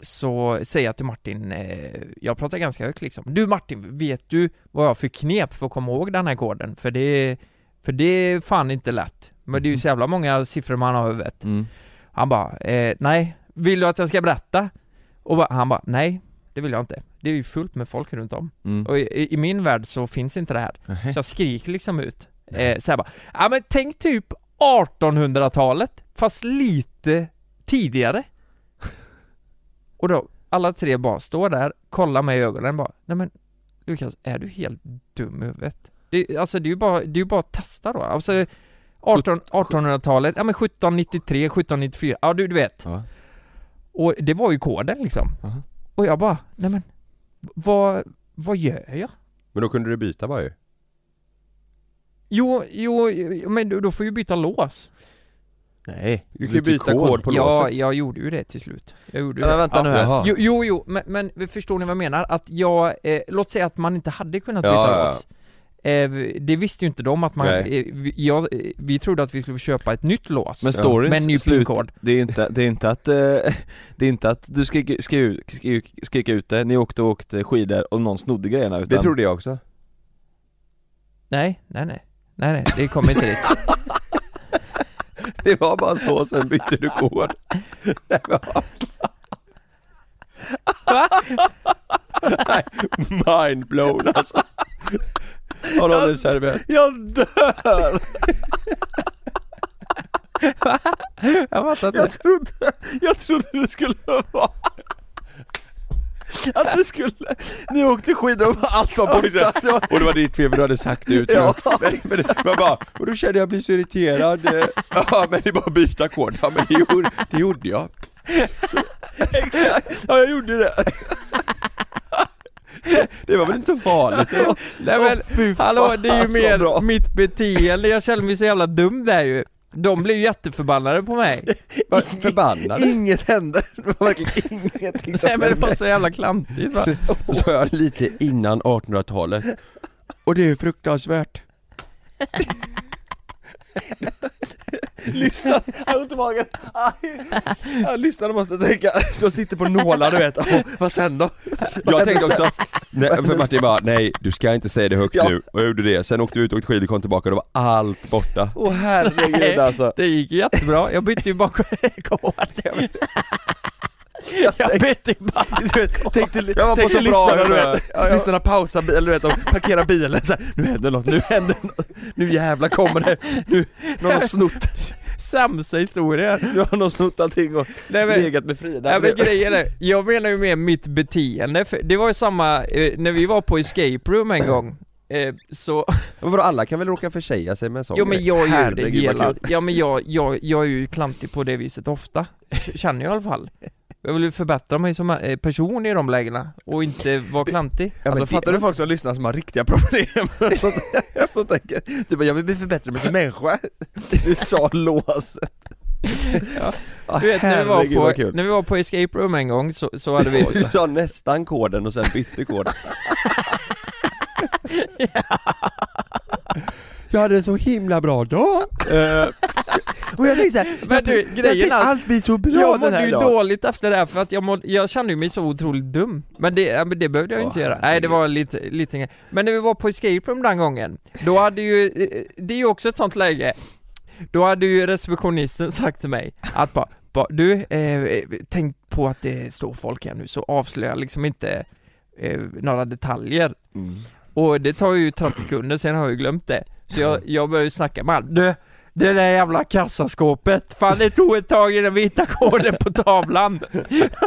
Speaker 1: så säger jag till Martin, eh, jag pratar ganska högt liksom Du Martin, vet du vad jag fick knep för att komma ihåg den här koden? För det, för det är fan inte lätt Men det är ju så jävla många siffror man har i huvudet
Speaker 3: Mm.
Speaker 1: Han bara, eh, nej, vill du att jag ska berätta? Och bara, han bara, nej, det vill jag inte Det är ju fullt med folk runt om
Speaker 3: Mm.
Speaker 1: Och i, i min värld så finns inte det här
Speaker 3: Nähä.
Speaker 1: Så jag skriker liksom ut, eh, så här bara, ja men tänk typ 1800-talet, fast lite tidigare Och då, alla tre bara står där, kollar mig i ögonen och bara, nej men Lukas, är du helt dum i huvudet? Det, alltså det är ju bara, det är ju bara att testa då, alltså 18, 1800-talet, ja men 1793, 1794, ja du, du vet
Speaker 3: Ja.
Speaker 1: Och det var ju koden liksom
Speaker 3: Aha.
Speaker 1: Och jag bara, nej men vad, vad gör jag?
Speaker 2: Men då kunde du byta bara ju.
Speaker 1: Jo, jo, jo, men då- då får ju byta lås
Speaker 3: Nej.
Speaker 2: Du kan ju byta kod på
Speaker 1: ja,
Speaker 2: låset.
Speaker 1: jag gjorde ju det till slut. Jag gjorde ju det.
Speaker 3: Men vänta nu här.
Speaker 2: Jaha.
Speaker 1: Jo, jo, jo men, men förstår ni vad jag menar? Att jag, eh, låt säga att man inte hade kunnat
Speaker 2: Ja,
Speaker 1: byta
Speaker 2: ja, ja.
Speaker 1: lås. Eh, det visste ju inte de att man, eh,
Speaker 2: Nej.
Speaker 1: vi, jag, eh, vi trodde att vi skulle köpa ett nytt lås.
Speaker 3: Men storyns
Speaker 1: Med en ny
Speaker 3: slut,
Speaker 1: pinkod.
Speaker 3: det är inte, det är inte att, eh, *laughs* det är inte att du skriker, skriker, skriker, skriker ut det, ni åkte och åkte skidor och någon snodde grejerna utan
Speaker 2: Det trodde jag också.
Speaker 1: Nej, nej, nej. Nej, nej, det kommer inte
Speaker 3: *laughs*
Speaker 1: dit.
Speaker 2: Det var bara så, sen bytte du kod. Nej, men vad
Speaker 1: Va?
Speaker 2: fan. *laughs* Nej, Mind blown alltså. Har du en servett?
Speaker 3: *laughs* Jag dör!
Speaker 1: Jag fattar inte.
Speaker 3: trodde, jag trodde det skulle vara *laughs* att det skulle, ni åkte skidor och allt var
Speaker 2: Och det var ditt fel för du hade sagt det ut.
Speaker 3: Ja,
Speaker 2: *laughs* men, men, det- man bara, och då kände jag bli så *laughs* irriterad. Eh, Ja men det är bara att byta kod. Ja men det gjorde, det gjorde jag.
Speaker 3: Exakt, ja jag gjorde det.
Speaker 2: Det var väl inte så farligt? Det *laughs* var,
Speaker 1: Nej men, hallå det är ju mer mitt beteende, jag känner mig så jävla dum där ju. De blev ju jätteförbannade på *laughs* mig.
Speaker 2: var förbannad.
Speaker 3: Inget hände, det var verkligen *laughs* ingenting som
Speaker 1: Nej men det
Speaker 3: hände.
Speaker 1: var så jävla klantigt va.
Speaker 2: Så jag lite innan 1800-talet. Och det är fruktansvärt.
Speaker 3: *laughs* Lyssna, han ont i *laughs* magen. Aj. Ja, lyssna, du måste tänka, de sitter på nålar du vet, Åh, vad sen då?
Speaker 2: Jag tänkte också, nej, för Martin bara, nej du ska inte säga det högt
Speaker 3: Ja.
Speaker 2: nu. Och jag gjorde det. Sen åkte vi ut och åkte skidor och kom tillbaka och då var allt borta.
Speaker 3: Åh herregud alltså.
Speaker 1: Det gick ju jättebra, jag bytte *laughs* ju bara kod. Jag bytte ju bara
Speaker 3: Du vet, tänkte, jag
Speaker 2: var på så bra
Speaker 3: lyssnarna, du
Speaker 2: humör.
Speaker 3: vet, lyssnarna pausar bilen, eller du vet, de parkerar bilen så här, nu händer något, nu händer något, nu jävlar kommer det, nu, någon har snott,
Speaker 1: sämsta historien.
Speaker 3: nu har någon snott allting och
Speaker 1: Nej men,
Speaker 3: legat med Frida.
Speaker 1: nej, men grejen är, jag menar ju mer mitt beteende, för det var ju samma, eh, när vi var på escape room en gång, eh, så,
Speaker 2: Men vadå alla kan väl råka försäga sig med en sån
Speaker 1: jo men
Speaker 2: grej?
Speaker 1: jag gör det
Speaker 2: Herregud, vad
Speaker 1: hela,
Speaker 2: kul.
Speaker 1: ja men jag, jag, jag är ju klantig på det viset ofta, känner jag i alla fall. Jag vill ju förbättra mig som eh, person i de lägena, och inte vara klantig.
Speaker 2: Ja, men
Speaker 3: Alltså
Speaker 2: det-
Speaker 3: fattar du folk som lyssnar som har riktiga *laughs* problem? som tänker, du bara, jag vill bli förbättrad med en människa. Du sa lås. Ja.
Speaker 1: Du vet när vi var
Speaker 3: herregud, vad
Speaker 1: på,
Speaker 3: kul.
Speaker 1: när vi var på escape room en gång så, så
Speaker 2: *laughs*
Speaker 1: hade vi
Speaker 2: Du sa nästan koden och sen bytte koden. Jag hade en så himla bra dag! Eh,
Speaker 3: Och jag tänkte såhär,
Speaker 1: Men du,
Speaker 3: jag
Speaker 1: grejen
Speaker 3: tänkte,
Speaker 1: är-
Speaker 3: allt blir så bra
Speaker 1: jag
Speaker 3: den
Speaker 1: mådde
Speaker 3: här
Speaker 1: ju
Speaker 3: dagen.
Speaker 1: dåligt efter det här för att jag, mådde, jag kände ju mig så otroligt dum Men det, ja, men det behövde jag ju
Speaker 3: Åh,
Speaker 1: inte göra, nej det var lite, lite grej. Men när vi var på escape room den gången, då hade ju, eh, det är ju också ett sånt läge Då hade ju receptionisten *laughs* sagt till mig att bara, bara du, eh, tänk på att det står folk här nu så avslöja liksom inte eh, några detaljer
Speaker 2: Mm.
Speaker 1: och det tar ju 30 sekunder, sen har jag ju glömt det. Så jag, jag börjar ju snacka med han. Du, Det där jävla kassaskåpet. Fan det tog ett tag innan vi hittade koden på
Speaker 2: *laughs*
Speaker 1: tavlan.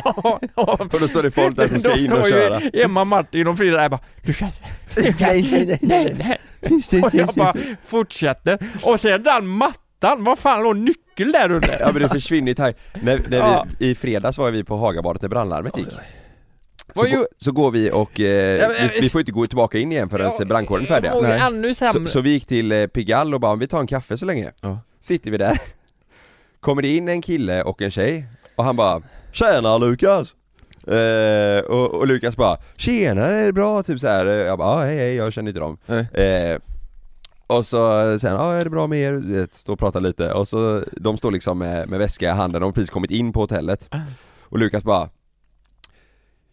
Speaker 1: Ja, *laughs* ja.
Speaker 2: Och då står det folk där som ska
Speaker 1: Då
Speaker 2: in och
Speaker 1: står ju
Speaker 2: köra.
Speaker 1: Emma, Martin och Frida där bara du kan, du kan, nej, nej, nej. Och jag bara fortsätter. Och sen den mattan, vad fan låg nyckeln där under?
Speaker 2: *laughs* Ja men det försvinner här. När, när
Speaker 1: Ja.
Speaker 2: vi, I fredags var vi på Hagabadet när brandlarmet gick. Så,
Speaker 1: Vad
Speaker 2: gå,
Speaker 1: gjorde-
Speaker 2: så går vi och, eh,
Speaker 1: Ja, men-
Speaker 2: vi, vi får inte gå tillbaka in igen förrän brandkåren är färdiga.
Speaker 1: Och ännu
Speaker 2: Så,
Speaker 1: sämre.
Speaker 2: så vi gick till eh, Pigalle och bara, vi tar en kaffe så länge.
Speaker 3: Ja.
Speaker 2: Sitter vi där. *laughs* Kommer det in en kille och en tjej och han bara, tjena Lukas! Eh, och, och Lukas bara, tjena är det bra? Typ så här. Eh, jag bara, ah, hej hej, jag känner inte dem.
Speaker 3: Nej.
Speaker 2: Eh, och så sen, ja ah, är det bra med er? Du vet, Stå och prata lite och så, de står liksom med, med väska i handen, de har precis kommit in på hotellet.
Speaker 3: Ah.
Speaker 2: Och Lukas bara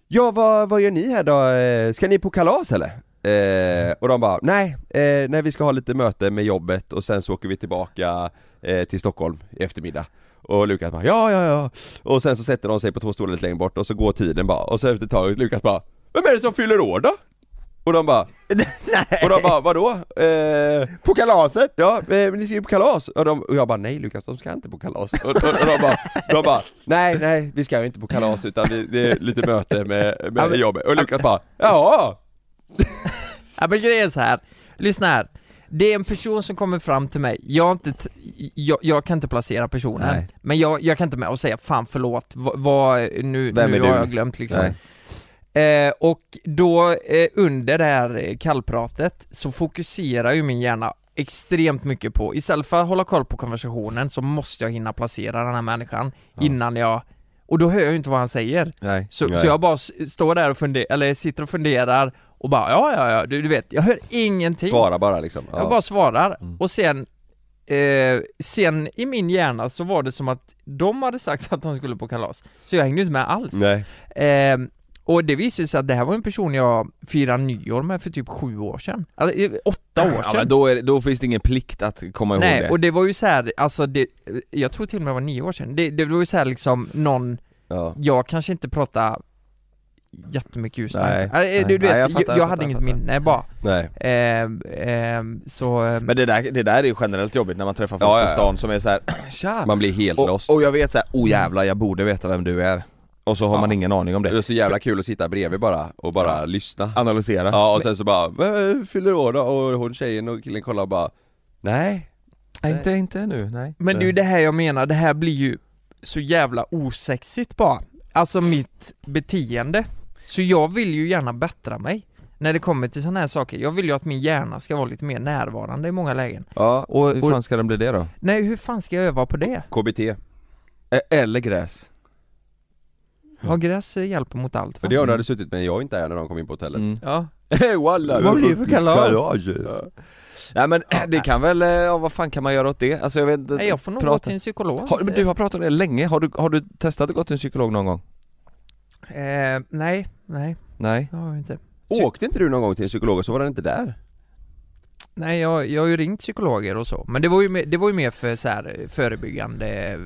Speaker 2: Ja vad, vad gör ni här då? Eh, Ska ni på kalas eller? Eh, och de bara, nej, eh, nej vi ska ha lite möte med jobbet och sen så åker vi tillbaka eh, till Stockholm i eftermiddag Och Lukas bara, ja ja ja Och sen så sätter de sig på två stolar lite längre bort och så går tiden bara och så efter ett tag, Lukas bara Vem är det som fyller år då? Och de bara, och de bara vadå? Eh, på kalaset? Ja, eh, men ni ska ju på kalas! Och, de, och jag bara nej Lukas, de ska inte på kalas. Och, och, och de, bara, de bara nej nej, vi ska ju inte på kalas utan vi, det är lite möte med,
Speaker 1: Ja,
Speaker 2: med
Speaker 1: men-
Speaker 2: jobbet. Och Lukas bara ja!
Speaker 1: Ja men grejen är så här. lyssna här. Det är en person som kommer fram till mig, jag, har inte t- jag, jag kan inte placera personen,
Speaker 3: Nej.
Speaker 1: men jag, jag kan inte med och säga 'fan förlåt, vad, vad nu,
Speaker 3: Vem
Speaker 1: nu
Speaker 3: är
Speaker 1: har
Speaker 3: du?"
Speaker 1: jag glömt' liksom.
Speaker 3: Nej.
Speaker 1: Eh, och då eh, under det här eh, kallpratet så fokuserar ju min hjärna extremt mycket på, istället för att hålla koll på konversationen så måste jag hinna placera den här människan
Speaker 3: Ja.
Speaker 1: innan jag, och då hör jag ju inte vad han säger.
Speaker 3: Nej.
Speaker 1: Så,
Speaker 2: Nej.
Speaker 1: så jag bara s- står där och funderar, eller sitter och funderar och bara ja ja ja, du, du vet, jag hör ingenting.
Speaker 2: Svara bara liksom. Ja.
Speaker 1: Jag bara svarar
Speaker 3: Mm.
Speaker 1: och sen eh, sen i min hjärna så var det som att de hade sagt att de skulle på kalas, så jag hängde inte med
Speaker 3: Mm.
Speaker 1: alls.
Speaker 2: Nej.
Speaker 1: Eh, och det visade sig att det här var en person jag firade nyår med för typ sju år sedan, alltså, eh, åtta år
Speaker 3: Ja,
Speaker 1: sedan.
Speaker 3: men då, är, det- då finns det ingen plikt att komma ihåg
Speaker 1: Nej,
Speaker 3: det.
Speaker 1: och det var ju så här, alltså det, jag tror till och med det var nio år sedan, det, det var ju så här liksom någon
Speaker 2: Ja.
Speaker 1: jag kanske inte pratar jättemycket ljus
Speaker 3: Nej,
Speaker 1: Nej, nej, äh, du, du
Speaker 3: nej,
Speaker 1: vet,
Speaker 3: jag
Speaker 1: jag,
Speaker 3: fattar,
Speaker 1: jag,
Speaker 3: jag
Speaker 1: hade
Speaker 3: fattar,
Speaker 1: inget
Speaker 3: jag fattar.
Speaker 1: minne bara
Speaker 2: Nej.
Speaker 1: ehm, ehm, Så, ehm,
Speaker 3: Men det där, det där är ju generellt jobbigt när man träffar folk
Speaker 2: Ja, ja,
Speaker 3: på
Speaker 2: ja.
Speaker 3: stan som är så här, *clears throat* tja!
Speaker 2: Man blir helt lost.
Speaker 3: och, och jag vet så här, oh jävlar jag borde veta vem du är. Och så har man ingen aning om
Speaker 2: det
Speaker 3: det.
Speaker 2: är så jävla kul att sitta bredvid bara och bara lyssna.
Speaker 3: Analysera.
Speaker 2: Ja och sen så bara, "Vem fyller år då? Och hon tjejen och killen kollar och bara nej.
Speaker 3: Nej, inte, inte nu, nej.
Speaker 1: men det är ju det
Speaker 3: Nej.
Speaker 1: här jag menar, det här blir ju så jävla osexigt bara Alltså mitt beteende Så jag vill ju gärna bättra mig när det kommer till sådana här saker, jag vill ju att min hjärna ska vara lite mer närvarande i många lägen
Speaker 3: Ja, och,
Speaker 1: och-
Speaker 3: hur fan ska den bli det då?
Speaker 1: Nej, hur fan ska jag öva på det?
Speaker 2: KBT.
Speaker 3: E- Eller gräs.
Speaker 1: Ja, gräs eh, hjälper mot allt
Speaker 2: För
Speaker 1: va?
Speaker 2: det har du hade suttit med jag inte är när de kom in på hotellet.
Speaker 3: *laughs* Mm.
Speaker 1: Ja,
Speaker 2: Hey, walla,
Speaker 1: Vad blir det för kalas?
Speaker 2: Ja.
Speaker 3: Nej men det kan väl, eh, ja vad fan kan man göra åt det? Alltså jag vet inte,
Speaker 1: Nej, jag får nog gå till en psykolog
Speaker 3: har, men du har pratat om det länge, har du, har du testat att gå till en psykolog någon gång?
Speaker 1: eh, Nej, nej,
Speaker 3: Nej?
Speaker 1: det har jag inte
Speaker 2: Åkte inte du någon gång till en psykolog och så var den inte där?
Speaker 1: Nej jag, jag har ju ringt psykologer och så, men det var ju, mer- det var ju mer för så här förebyggande eh,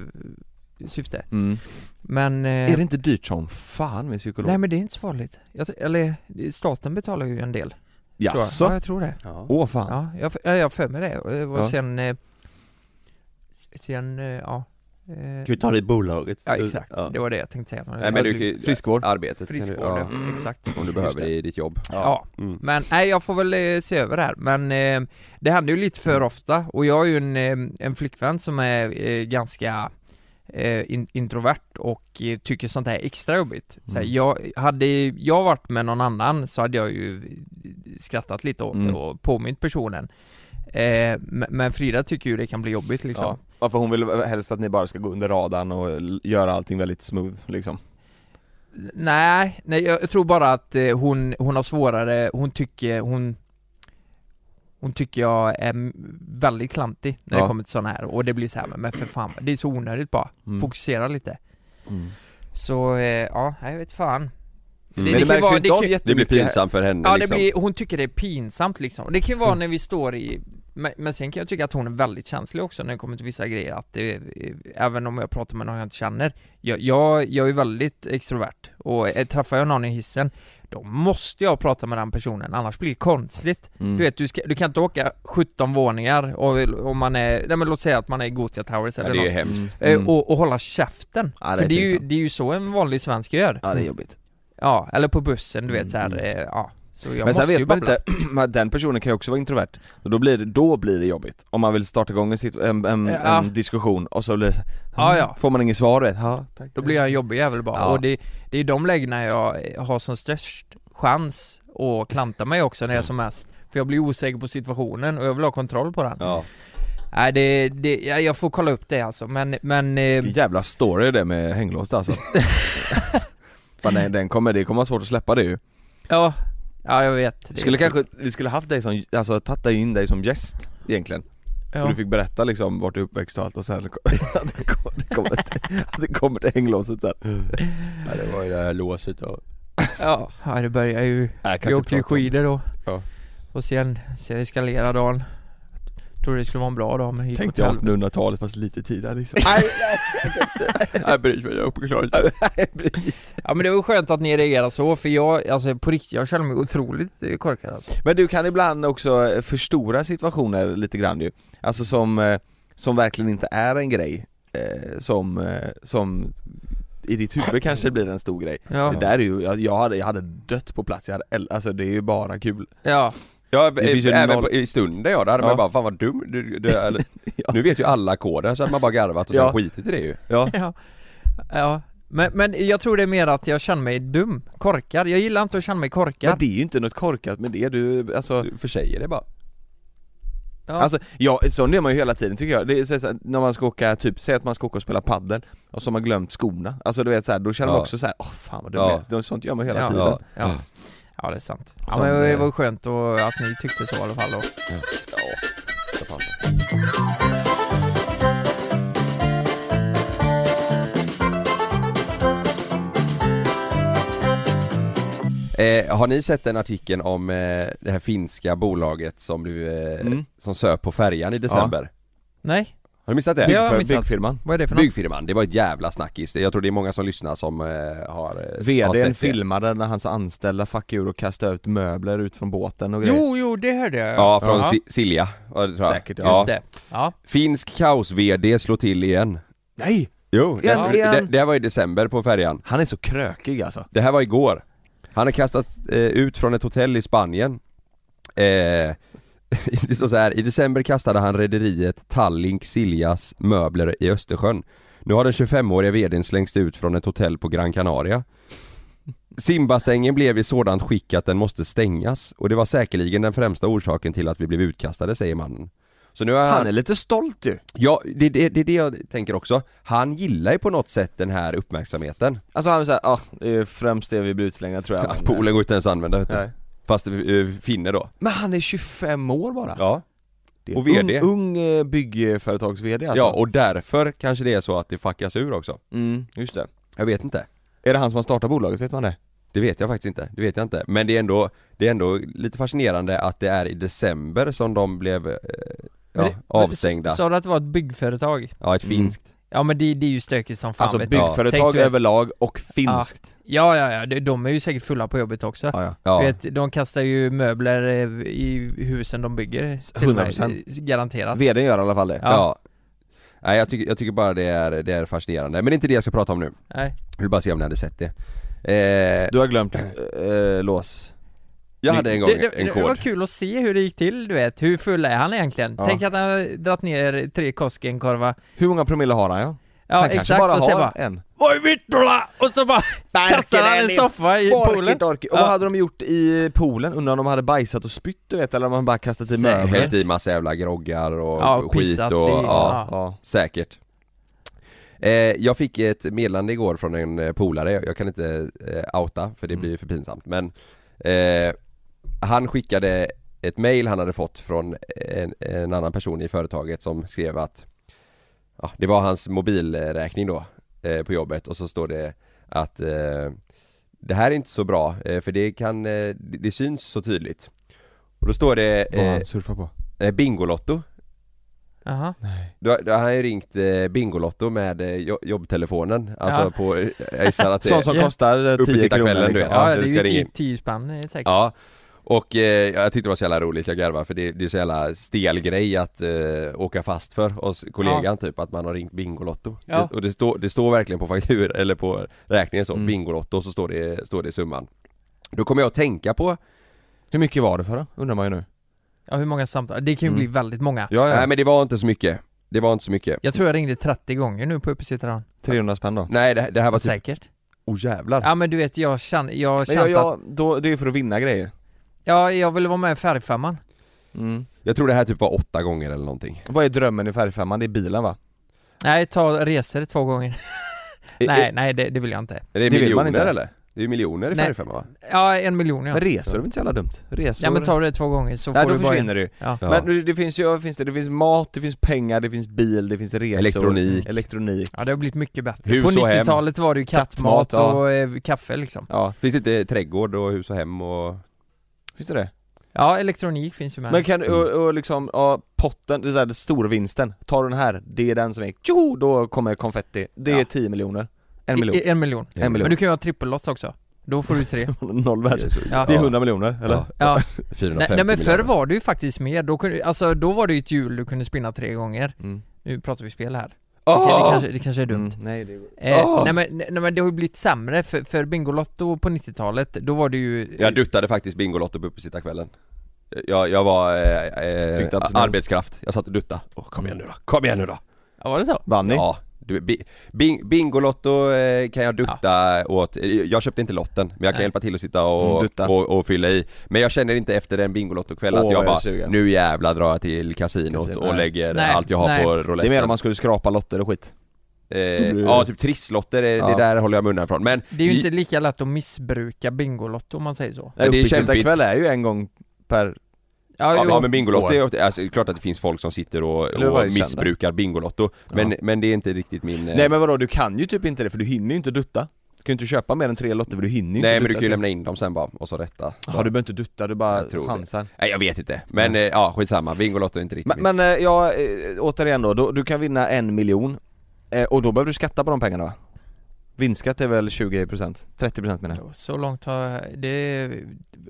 Speaker 1: syfte
Speaker 3: Mm.
Speaker 1: Men... eh,
Speaker 3: Är det inte dyrt som fan med psykolog?
Speaker 1: nej men det är inte så farligt, jag, tror- eller staten betalar ju en del tror jag. Ja
Speaker 3: Jaså?
Speaker 1: jag tror det,
Speaker 3: Åh fan.
Speaker 1: ja jag, ja, jag har för mig det, och, och
Speaker 3: Ja.
Speaker 1: sen... Eh, sen, eh, ja eh,
Speaker 2: vi ta det i bolaget?
Speaker 1: Ja exakt, det var det jag tänkte säga
Speaker 2: Nej men du kan ju-
Speaker 3: Friskvård.
Speaker 2: Arbetet. kan du-
Speaker 1: Friskvård,
Speaker 2: ja.
Speaker 1: ja. exakt
Speaker 2: Om du
Speaker 1: Just
Speaker 2: behöver
Speaker 1: det.
Speaker 2: det i ditt jobb.
Speaker 1: Ja,
Speaker 2: Mm.
Speaker 1: Men nej, jag får väl eh, se över det här. Men eh, det händer ju lite
Speaker 3: Mm.
Speaker 1: för ofta och jag har ju en, eh, en flickvän som är eh, ganska eh, in, introvert och eh, tycker sånt här är extra jobbigt. Så här,
Speaker 3: Mm.
Speaker 1: jag, hade jag varit med någon annan så hade jag ju skrattat lite åt
Speaker 3: Mm.
Speaker 1: det och påmint personen. Eh, men, men Frida tycker ju det kan bli jobbigt liksom.
Speaker 3: Ja. ja, för hon vill helst att ni bara ska gå under radarn och l- göra allting väldigt smooth liksom.
Speaker 1: Nej, nej jag tror bara att eh, hon, hon har svårare, hon tycker, hon Hon tycker jag är m- väldigt klantig när
Speaker 3: Ja.
Speaker 1: det kommer till sådana här och det blir så här men- men för fan, det är så onödigt bara,
Speaker 3: Mm.
Speaker 1: fokusera lite
Speaker 3: Mm.
Speaker 1: Så, eh, ja, jag vet fan
Speaker 2: Men
Speaker 1: det
Speaker 2: det
Speaker 1: kan
Speaker 2: märks ju
Speaker 1: vara-
Speaker 3: inte
Speaker 1: kan
Speaker 3: av
Speaker 1: ju-
Speaker 2: Det blir
Speaker 3: mycket-
Speaker 2: pinsamt för henne
Speaker 1: Ja det
Speaker 2: liksom.
Speaker 1: blir, hon tycker det är pinsamt liksom, och det kan ju
Speaker 3: Mm.
Speaker 1: vara när vi står i men, men sen kan jag tycka att hon är väldigt känslig också när det kommer till vissa grejer, att det, även om jag pratar med någon jag inte känner Jag, jag, jag är väldigt extrovert, och eh, träffar jag någon i hissen Då måste jag prata med den personen, annars blir det konstigt
Speaker 3: Mm.
Speaker 1: Du vet, du, ska, du kan inte åka 17 våningar och, om man är, nej men låt säga att man är i Gothia Towers
Speaker 2: Ja,
Speaker 1: eller
Speaker 2: det är ju
Speaker 1: något,
Speaker 2: hemskt.
Speaker 1: Eh,
Speaker 3: Mm.
Speaker 1: och, och hålla käften
Speaker 3: Ja, det
Speaker 1: För
Speaker 3: är
Speaker 1: det är, ju,
Speaker 3: pinsamt.
Speaker 1: det är ju så en vanlig svensk gör Mm.
Speaker 3: Ja det är jobbigt
Speaker 1: Ja, eller på bussen du vet
Speaker 3: Mm,
Speaker 1: såhär,
Speaker 3: mm.
Speaker 1: eh, ja Så jag
Speaker 3: Men sen
Speaker 1: måste ju
Speaker 3: vet man
Speaker 1: babbla.
Speaker 3: inte, *clears throat* att den personen kan ju också vara introvert och då blir det, då blir det jobbigt Om man vill starta igång en, situ- en, en,
Speaker 1: Ja.
Speaker 3: en diskussion och så blir det så- "Mm,
Speaker 1: Ja, ja.
Speaker 3: Får man inget svar vet, ja, tack.
Speaker 1: Då blir jag en jobbig jävel bara
Speaker 3: Ja.
Speaker 1: och det, det är de lägena jag har som störst chans att klanta mig också när jag är som mest För jag blir osäker på situationen och jag vill ha kontroll på den
Speaker 3: Ja,
Speaker 1: Nej det, det ja, jag får kolla upp det alltså men, men eh,
Speaker 3: Vilken jävla story det med hänglås
Speaker 1: *laughs*
Speaker 3: alltså Fan nej, den kommer, det kommer vara svårt att släppa det ju
Speaker 1: ja Ja jag vet
Speaker 3: Vi skulle kanske, vi skulle haft dig som, alltså tagit dig in dig som gäst egentligen
Speaker 1: ja.
Speaker 3: Och du fick berätta liksom vart du är uppväxt och allt och sen *laughs* att det kom- det kommer till, att det kommer till hänglåset sen
Speaker 2: Mm.
Speaker 1: Mm.
Speaker 2: Ja, det var ju det här låset och...
Speaker 1: ja, ja det börjar ju
Speaker 3: Nej, jag kan
Speaker 1: Vi
Speaker 3: inte
Speaker 1: åkte ju
Speaker 3: prata om det.
Speaker 1: skidor då
Speaker 3: Ja.
Speaker 1: Och sen, sen eskalerade dagen Trodde det skulle vara en bra dag men gick åt
Speaker 3: Tänkte jag
Speaker 1: helvete
Speaker 3: 1800-talet fast lite tidigare liksom
Speaker 2: Mm.
Speaker 3: *laughs*
Speaker 2: Nej, nej, bryr mig, jag är uppklarad.
Speaker 1: Ja men det var skönt att ni reagerar så för jag, alltså på riktigt, jag känner mig otroligt eh, korkad alltså.
Speaker 3: Men du kan ibland också eh, förstora situationer lite grann ju Alltså som, eh, som verkligen inte är en grej eh, Som, eh, som i ditt huvud kanske blir en stor grej
Speaker 1: Ja,
Speaker 3: Det där är ju, jag, jag, hade, jag hade dött på plats, jag hade, äl- alltså det är ju bara kul
Speaker 1: ja,
Speaker 2: Ja, eh,
Speaker 3: Det finns ju
Speaker 2: även
Speaker 3: noll-
Speaker 2: på, i stunden ja, där hade man
Speaker 3: Ja.
Speaker 2: bara 'Fan vad dum
Speaker 1: *laughs*
Speaker 2: du, du eller,
Speaker 3: Ja.
Speaker 2: Nu vet ju alla koden så hade man bara garvat och sen
Speaker 3: Ja.
Speaker 2: skitit i det ju
Speaker 3: Ja,
Speaker 1: *laughs* ja, ja. Men, men jag tror det är mer att jag känner mig dum, korkad. Jag gillar inte att känna mig
Speaker 3: men
Speaker 1: korkad.
Speaker 3: det är ju inte något korkat med det du, alltså
Speaker 2: Du försäger det bara
Speaker 1: Ja.
Speaker 3: Alltså, ja, sån är man ju hela tiden tycker jag. Det är så, så, här, när man ska åka, typ, säg att man ska åka och spela paddel och så har man glömt skorna. Alltså du vet så här, då känner man
Speaker 2: Ja.
Speaker 3: också så här, åh fan vad
Speaker 2: Ja.
Speaker 3: dumt ja. Sånt gör man hela
Speaker 1: Ja.
Speaker 3: tiden.
Speaker 2: Ja.
Speaker 1: Ja. ja, det är sant. Ja,
Speaker 3: Som,
Speaker 1: men det
Speaker 3: eh,
Speaker 1: var skönt och att ni tyckte så i alla fall då.
Speaker 2: eh, Har ni sett den artikeln om eh, det här finska bolaget som du, eh,
Speaker 3: Mm.
Speaker 2: som söp på färjan i december?
Speaker 1: Nej,
Speaker 2: Har du missat det?
Speaker 1: Det har jag
Speaker 3: För
Speaker 1: missat.
Speaker 3: byggfirman.
Speaker 1: vad är det för något?
Speaker 2: Byggfirman, det var ett jävla snackis. Jag tror det är många som lyssnar som eh, har, eh, har
Speaker 3: VDn
Speaker 2: sett det.
Speaker 3: filmade när hans anställda fuck ur och kastade ut möbler ut från båten och grejer.
Speaker 1: Jo, jo, det hörde jag.
Speaker 2: Ja, från
Speaker 1: ja.
Speaker 2: Si- Silja. var det, tror jag.
Speaker 3: Säkert, ja.
Speaker 1: Just
Speaker 2: ja.
Speaker 1: det. Ja.
Speaker 2: Finsk kaos-VD slår till igen.
Speaker 3: Nej!
Speaker 2: Jo, det,
Speaker 3: Igen, igen.
Speaker 2: det, det här var i december på färjan.
Speaker 3: Han är så krökig alltså.
Speaker 2: Det här var igår. Han har kastats eh, ut från ett hotell i Spanien. Eh, *laughs* det står så här, i december kastade han rederiet Tallink Siljas möbler i Östersjön. Nu har den 25-åriga vdn slängts ut från ett hotell på Gran Canaria. Simbassängen blev i sådant skick att den måste stängas och det var säkerligen den främsta orsaken till att vi blev utkastade, säger mannen. Så nu har han,
Speaker 3: Han är lite stolt ju.
Speaker 2: ja det, det, det är det jag tänker också. Han gillar ju på något sätt den här uppmärksamheten.
Speaker 3: Alltså han är såhär, ja det är främst det vi blir utslängda tror jag.
Speaker 2: Ja, *laughs*
Speaker 3: men,
Speaker 2: Polen går inte ens att använda vet du.
Speaker 3: nej.
Speaker 2: Fast eh, finne då?
Speaker 3: men han är 25 år bara.
Speaker 2: Ja.
Speaker 3: Det är
Speaker 2: och VD.
Speaker 3: Ung, ung eh, byggföretags-VD alltså.
Speaker 2: Ja, och därför kanske det är så att det fuckas ur också.
Speaker 3: Mm, just det.
Speaker 2: Jag vet inte.
Speaker 3: Är det han som har startat bolaget, vet man det?
Speaker 2: Det vet jag faktiskt inte. Det vet jag inte. Men det är ändå, det är ändå lite fascinerande att det är i december som de blev eh, ja,
Speaker 1: Men det-
Speaker 2: avstängda.
Speaker 1: Sa du att det var ett byggföretag?
Speaker 2: ja, ett
Speaker 3: Mm.
Speaker 2: finskt.
Speaker 1: Ja men det, det är ju stökigt som fan
Speaker 3: alltså
Speaker 1: vet du.
Speaker 3: byggföretag
Speaker 1: Tänkte jag.
Speaker 3: överlag och finskt.
Speaker 1: Ja, ja, ja, de- de är ju säkert fulla på jobbet också.
Speaker 3: Ja, ja.
Speaker 2: Ja.
Speaker 1: Vet, de kastar ju möbler eh, i husen de bygger till och med,
Speaker 3: 100%.
Speaker 1: Garanterat
Speaker 3: Vdn gör i alla fall det.
Speaker 1: Ja.
Speaker 2: ja. Nej, jag tycker, jag tycker bara det är, det är fascinerande. Men det är inte det jag ska prata om nu.
Speaker 1: Nej.
Speaker 2: Jag vill bara se om ni hade sett det. Eh,
Speaker 3: Du har glömt eh, lås.
Speaker 2: jag hade en gång
Speaker 1: det, det,
Speaker 2: en
Speaker 1: det var
Speaker 2: kod.
Speaker 1: kul att se hur det gick till du vet, hur full är han egentligen?
Speaker 3: Ja.
Speaker 1: Tänk att han har dratt ner tre Koskenkorva
Speaker 3: Hur många promille har han ja?
Speaker 1: Ja
Speaker 3: han kanske
Speaker 1: exakt,
Speaker 3: bara
Speaker 1: och sen
Speaker 3: har
Speaker 1: bara
Speaker 3: en.
Speaker 1: Oj Vittola! Och så
Speaker 3: *laughs*
Speaker 1: bara kastar han en soffa i poolen
Speaker 3: Orket, orket. Och
Speaker 1: Ja.
Speaker 3: vad hade de gjort i poolen? Undrar om de hade bajsat och spytt du vet, eller om de bara kastat i
Speaker 1: Säkert.
Speaker 3: möbler?
Speaker 2: Hällt i massa jävla groggar och
Speaker 1: Ja, och
Speaker 2: skit och...
Speaker 1: pissat i-
Speaker 2: ja.
Speaker 1: ja.
Speaker 3: Ja.
Speaker 2: Säkert. Eh, jag fick ett meddelande igår från en eh, polare, jag jag kan inte eh, outa för det
Speaker 3: Mm.
Speaker 2: blir för pinsamt men eh, Han skickade ett mail han hade fått från en, en annan person i företaget som skrev att ja, Det var hans mobilräkning då eh, på jobbet och så står det att eh, Det här är inte så bra eh, för det kan, eh, det, det syns så tydligt Och då står det
Speaker 3: Vad
Speaker 2: eh,
Speaker 3: han surfar på.
Speaker 2: eh, Bingolotto
Speaker 1: Jaha.
Speaker 2: Då, då har han ju ringt eh, Bingolotto med eh, jo- jobbtelefonen, alltså
Speaker 1: Ja.
Speaker 2: på, jag gissar
Speaker 3: *laughs*
Speaker 2: att det
Speaker 3: Sånt som
Speaker 1: Ja.
Speaker 3: kostar eh,
Speaker 2: Uppe
Speaker 3: 10
Speaker 2: sitta
Speaker 3: kronor
Speaker 2: kvällen,
Speaker 3: liksom.
Speaker 2: du vet.
Speaker 1: Ja,
Speaker 2: Ja,
Speaker 1: det
Speaker 2: du
Speaker 1: är
Speaker 2: ska
Speaker 1: ju
Speaker 2: ringa
Speaker 1: tio,
Speaker 2: in.
Speaker 1: tio spänn eh, säkert.
Speaker 2: Ja, och eh, jag tyckte det var så jävla roligt, jag garvade för det, det är så jävla stel grej att eh, åka fast för oss kollegan typ, att man har ringt Bingolotto
Speaker 1: Ja.
Speaker 2: det, Och det, står det står verkligen på faktur *laughs* eller på räkningen så,
Speaker 3: Mm.
Speaker 2: Bingolotto, så står det, står det summan Då kommer jag att tänka på,
Speaker 3: Hur mycket var det för då? Undrar man ju nu.
Speaker 1: Ja, hur många samtal? Det kan ju
Speaker 3: Mm.
Speaker 1: bli väldigt många.
Speaker 3: Ja,
Speaker 2: nej men det var inte så mycket, det var inte så mycket
Speaker 1: Jag tror jag ringde 30 gånger nu på Uppesittardagen.
Speaker 3: 300 spänn då.
Speaker 2: Nej det, det här var typ,
Speaker 1: Säkert.
Speaker 2: oh jävlar
Speaker 1: Ja men du vet, jag känner, jag
Speaker 3: Men jag,
Speaker 1: känner att,
Speaker 3: jag, då, det är ju för att vinna grejer.
Speaker 1: ja jag ville vara med i Färgfemman.
Speaker 3: Mm.
Speaker 2: Jag tror det här typ var åtta gånger eller någonting
Speaker 3: Vad är drömmen i färgfemman? Det är bilen va?
Speaker 1: Nej, ta resor två gånger. nej, nej det, det vill jag inte.
Speaker 2: Är det,
Speaker 3: Det vill man
Speaker 2: miljoner
Speaker 3: inte.
Speaker 2: eller? Det är ju miljoner i
Speaker 1: Nej.
Speaker 2: färgfemma va?
Speaker 1: Ja, en miljon ja.
Speaker 3: Men resor är väl inte så jävla dumt? Resor...
Speaker 1: Ja men tar du det två gånger så
Speaker 3: Nej,
Speaker 1: får
Speaker 3: då
Speaker 1: du bara
Speaker 3: försvinner
Speaker 1: en.
Speaker 3: det ju.
Speaker 1: Ja.
Speaker 2: Ja.
Speaker 3: Men det- det finns ju, vad finns det? Det finns mat, det finns pengar, det finns bil, det finns resor.
Speaker 2: Elektronik
Speaker 3: Elektronik.
Speaker 1: ja, det har blivit mycket bättre.
Speaker 2: Hus
Speaker 1: på
Speaker 2: och hem.
Speaker 1: 90-talet var det ju kattmat,
Speaker 3: Kattmat, ja.
Speaker 1: och eh, kaffe liksom.
Speaker 3: Ja,
Speaker 2: Finns det inte trädgård och hus och hem och...
Speaker 3: finns det det?
Speaker 1: Ja, elektronik finns ju med.
Speaker 3: Men kan du, och, och liksom, ja, potten, det är den stora vinsten. Tar du den här, det är den som är, tjoho, då kommer konfetti. Det är
Speaker 1: Ja.
Speaker 3: 10 miljoner. En
Speaker 1: I-
Speaker 3: miljon.
Speaker 1: i- En miljon.
Speaker 3: En miljon.
Speaker 1: Men du kan ju ha trippellott också. Då får du
Speaker 3: *laughs*
Speaker 1: tre.
Speaker 3: Noll värde.
Speaker 1: Ja.
Speaker 3: Det är 100 miljoner, eller?
Speaker 2: Ja.
Speaker 1: Ja,
Speaker 2: 450
Speaker 1: nej, nej men förr
Speaker 2: miljarder.
Speaker 1: var det ju faktiskt mer, då, kunde, alltså, då var det ju ett hjul du kunde spinna tre gånger
Speaker 3: Mm.
Speaker 1: Nu pratar vi spel här
Speaker 2: Åh!
Speaker 1: Okej, det, kanske, det kanske är dumt
Speaker 3: Mm. Nej, det är...
Speaker 1: eh,
Speaker 2: Åh!
Speaker 1: nej, men, nej men det har ju blivit sämre, för, för Bingolotto på 90-talet, då var det ju
Speaker 2: Jag duttade faktiskt Bingolotto på uppesittarkvällen jag, jag var eh, eh,
Speaker 3: Fick du abstinens?
Speaker 2: arbetskraft, jag satt och duttade. Åh, kom igen nu då, kom igen nu då!
Speaker 1: Ja var det så?
Speaker 3: Vann ni?
Speaker 2: Ja, du, bi, bing, Bingolotto eh, kan jag dutta åt, jag köpte inte lotten men jag kan
Speaker 1: Nej.
Speaker 2: hjälpa till att sitta och,
Speaker 3: Mm, dutta.
Speaker 2: och, och fylla i Men jag känner inte efter en Bingolotto-kväll
Speaker 3: Åh,
Speaker 2: att
Speaker 3: jag
Speaker 2: jag
Speaker 3: är
Speaker 2: bara,
Speaker 3: sugen.
Speaker 2: nu jävlar drar jag till kasinot
Speaker 3: Kasino,
Speaker 2: och
Speaker 3: nej.
Speaker 2: lägger
Speaker 1: Nej,
Speaker 2: allt jag har
Speaker 1: nej.
Speaker 2: på
Speaker 3: Det är mer
Speaker 2: rouletten
Speaker 3: om man skulle skrapa lotter och skit.
Speaker 2: Eh,
Speaker 3: Mm.
Speaker 2: ja, typ trisslotter, det, det
Speaker 3: Ja.
Speaker 2: där håller jag mig undan från. Men
Speaker 1: Det är ju inte lika lätt att missbruka Bingolotto om man säger så
Speaker 2: Nej, det är kämpigt.
Speaker 3: kväll är ju en gång per...
Speaker 2: ja,
Speaker 1: jo.
Speaker 2: ja men Bingolotto, är, ju- alltså, det är klart att det finns folk som sitter och,
Speaker 3: Eller varje
Speaker 2: och
Speaker 3: söndag.
Speaker 2: missbrukar Bingolotto. Men, men det är inte riktigt min... eh,
Speaker 3: Nej men vadå, du kan ju typ inte det för du hinner ju inte dutta. Du kan ju inte köpa mer än tre lotter för du hinner ju
Speaker 2: nej
Speaker 3: inte
Speaker 2: men du
Speaker 3: dutta
Speaker 2: kan ju
Speaker 3: till-
Speaker 2: lämna in dem sen bara, och så rätta.
Speaker 3: Ja du behöver inte dutta, du
Speaker 2: Jag tror
Speaker 3: bara
Speaker 2: det.
Speaker 3: chansar.
Speaker 2: Nej jag vet inte, men eh, ja skitsamma, Bingolotto är inte riktigt
Speaker 3: Men, men eh, ja, eh, återigen då, då, du kan vinna en miljon eh, och då behöver du skatta på de pengarna va? Vinstskatt är väl 20%? 30% menar jag?
Speaker 1: Så långt har det,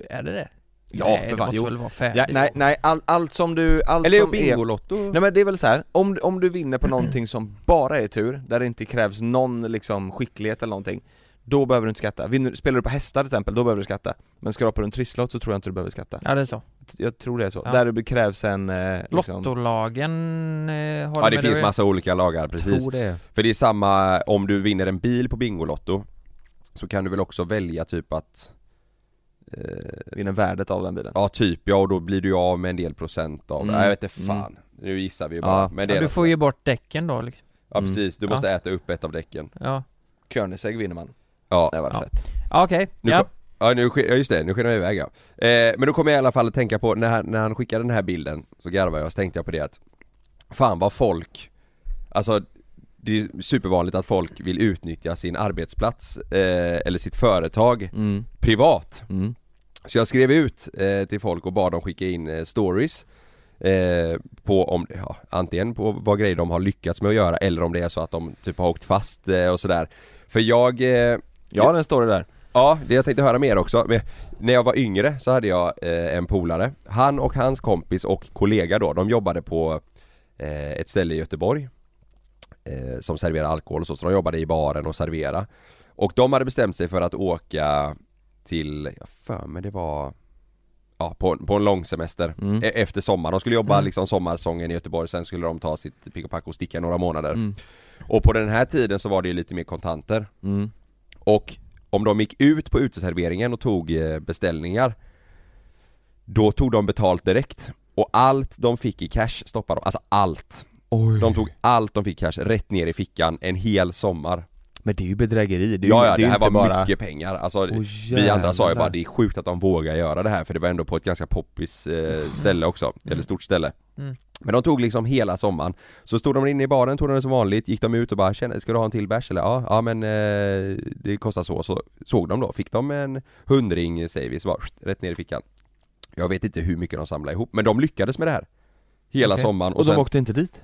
Speaker 1: är det det?
Speaker 3: Ja,
Speaker 1: nej,
Speaker 3: för
Speaker 1: det
Speaker 3: fan,
Speaker 1: måste
Speaker 3: jo.
Speaker 1: väl vara färdigt
Speaker 3: Ja, nej, nej, all, allt som du, allt
Speaker 2: Eller
Speaker 3: som är...
Speaker 2: Bingolotto?
Speaker 3: Nej men det är väl så här. Om, om du vinner på någonting som bara är tur, där det inte krävs någon liksom skicklighet eller någonting Då behöver du inte skatta. Vinner, spelar du på hästar till exempel, då behöver du skatta Men skrapar du en trisslott så tror jag inte du behöver skatta
Speaker 1: Ja det är så
Speaker 3: Jag tror det är så,
Speaker 1: Ja.
Speaker 3: där det krävs en eh, liksom,
Speaker 1: Lottolagen eh, har
Speaker 2: Ja
Speaker 1: med
Speaker 2: det finns
Speaker 1: att-
Speaker 2: massa olika lagar, precis.
Speaker 3: Tror det
Speaker 2: För det är samma, om du vinner en bil på Bingolotto så kan du väl också välja typ att eh,
Speaker 3: Vinner värdet av den bilen
Speaker 2: Ja typ, ja och då blir du ju av med en del procent av det.
Speaker 3: Mm.
Speaker 2: Jag vet inte fan, nu gissar vi ju
Speaker 3: Ja.
Speaker 2: bara. Men det
Speaker 1: ja,
Speaker 2: är
Speaker 1: Du
Speaker 2: något
Speaker 1: får
Speaker 2: sånt.
Speaker 1: ge bort däcken då liksom
Speaker 2: Ja precis, du
Speaker 1: Mm.
Speaker 2: måste äta upp ett av däcken.
Speaker 1: Ja,
Speaker 3: Koenigsegg vinner man,
Speaker 2: Ja,
Speaker 3: det var
Speaker 1: Ja.
Speaker 3: fett
Speaker 1: ja okej,
Speaker 2: nu
Speaker 1: ja
Speaker 2: kom- ja, nu, sk- ja just det, nu skenar jag iväg ja. eh, Men då kommer jag i alla fall att tänka på, när, han- när han skickade den här bilden så garvade jag så tänkte jag på det att Fan vad folk, alltså det är ju supervanligt att folk vill utnyttja sin arbetsplats eh, eller sitt företag
Speaker 3: mm.
Speaker 2: privat.
Speaker 3: Mm.
Speaker 2: Så jag skrev ut eh, till folk och bad dem skicka in eh, stories eh, på om, ja, antingen på vad grejer de har lyckats med att göra eller om det är så att de typ har åkt fast eh, och sådär. För jag, eh,
Speaker 3: Jag har en story där
Speaker 2: ja det jag tänkte höra mer också, men när jag var yngre så hade jag eh, en polare. Han och hans kompis och kollega då, de jobbade på eh, ett ställe i Göteborg eh, som serverar alkohol och så, så de jobbade i baren och servera. Och de hade bestämt sig för att åka till, jag för mig det var Ja, på, på en lång semester
Speaker 3: Mm.
Speaker 2: e- efter sommaren. De skulle jobba
Speaker 1: Mm.
Speaker 2: liksom sommarsången i Göteborg, sen skulle de ta sitt pick och pack och sticka några månader.
Speaker 3: Mm.
Speaker 2: Och på den här tiden så var det ju lite mer kontanter.
Speaker 3: mm.
Speaker 2: Och om de gick ut på uteserveringen och tog eh, beställningar Då tog de betalt direkt Och allt de fick i cash stoppade de, alltså allt
Speaker 3: Oj.
Speaker 2: De tog allt de fick i cash rätt ner i fickan en hel sommar
Speaker 3: Men det är ju bedrägeri, det är ju,
Speaker 2: Ja ja,
Speaker 3: det är
Speaker 2: det
Speaker 3: ju
Speaker 2: här
Speaker 3: inte
Speaker 2: var
Speaker 3: bara...
Speaker 2: mycket pengar alltså,
Speaker 3: Åh,
Speaker 2: Vi andra sa ju
Speaker 3: jävlar.
Speaker 2: bara det är sjukt att de vågar göra det här för det var ändå på ett ganska poppis
Speaker 3: Mm.
Speaker 2: eh, ställe också, eller stort ställe
Speaker 1: Mm.
Speaker 2: Men de tog liksom hela sommaren, så stod de inne i baren, tog de det som vanligt, gick de ut och bara "Tjena, ska du ha en till bärs eller? Ja, ja men eh, det kostar så, så såg de då, fick de en hundring säger vi, så bara, "Pst", rätt ner i fickan Jag vet inte hur mycket de samlade ihop, men de lyckades med det här Hela
Speaker 3: Okej.
Speaker 2: sommaren
Speaker 3: Och
Speaker 2: och
Speaker 3: de
Speaker 2: sen, de,
Speaker 3: åkte inte dit?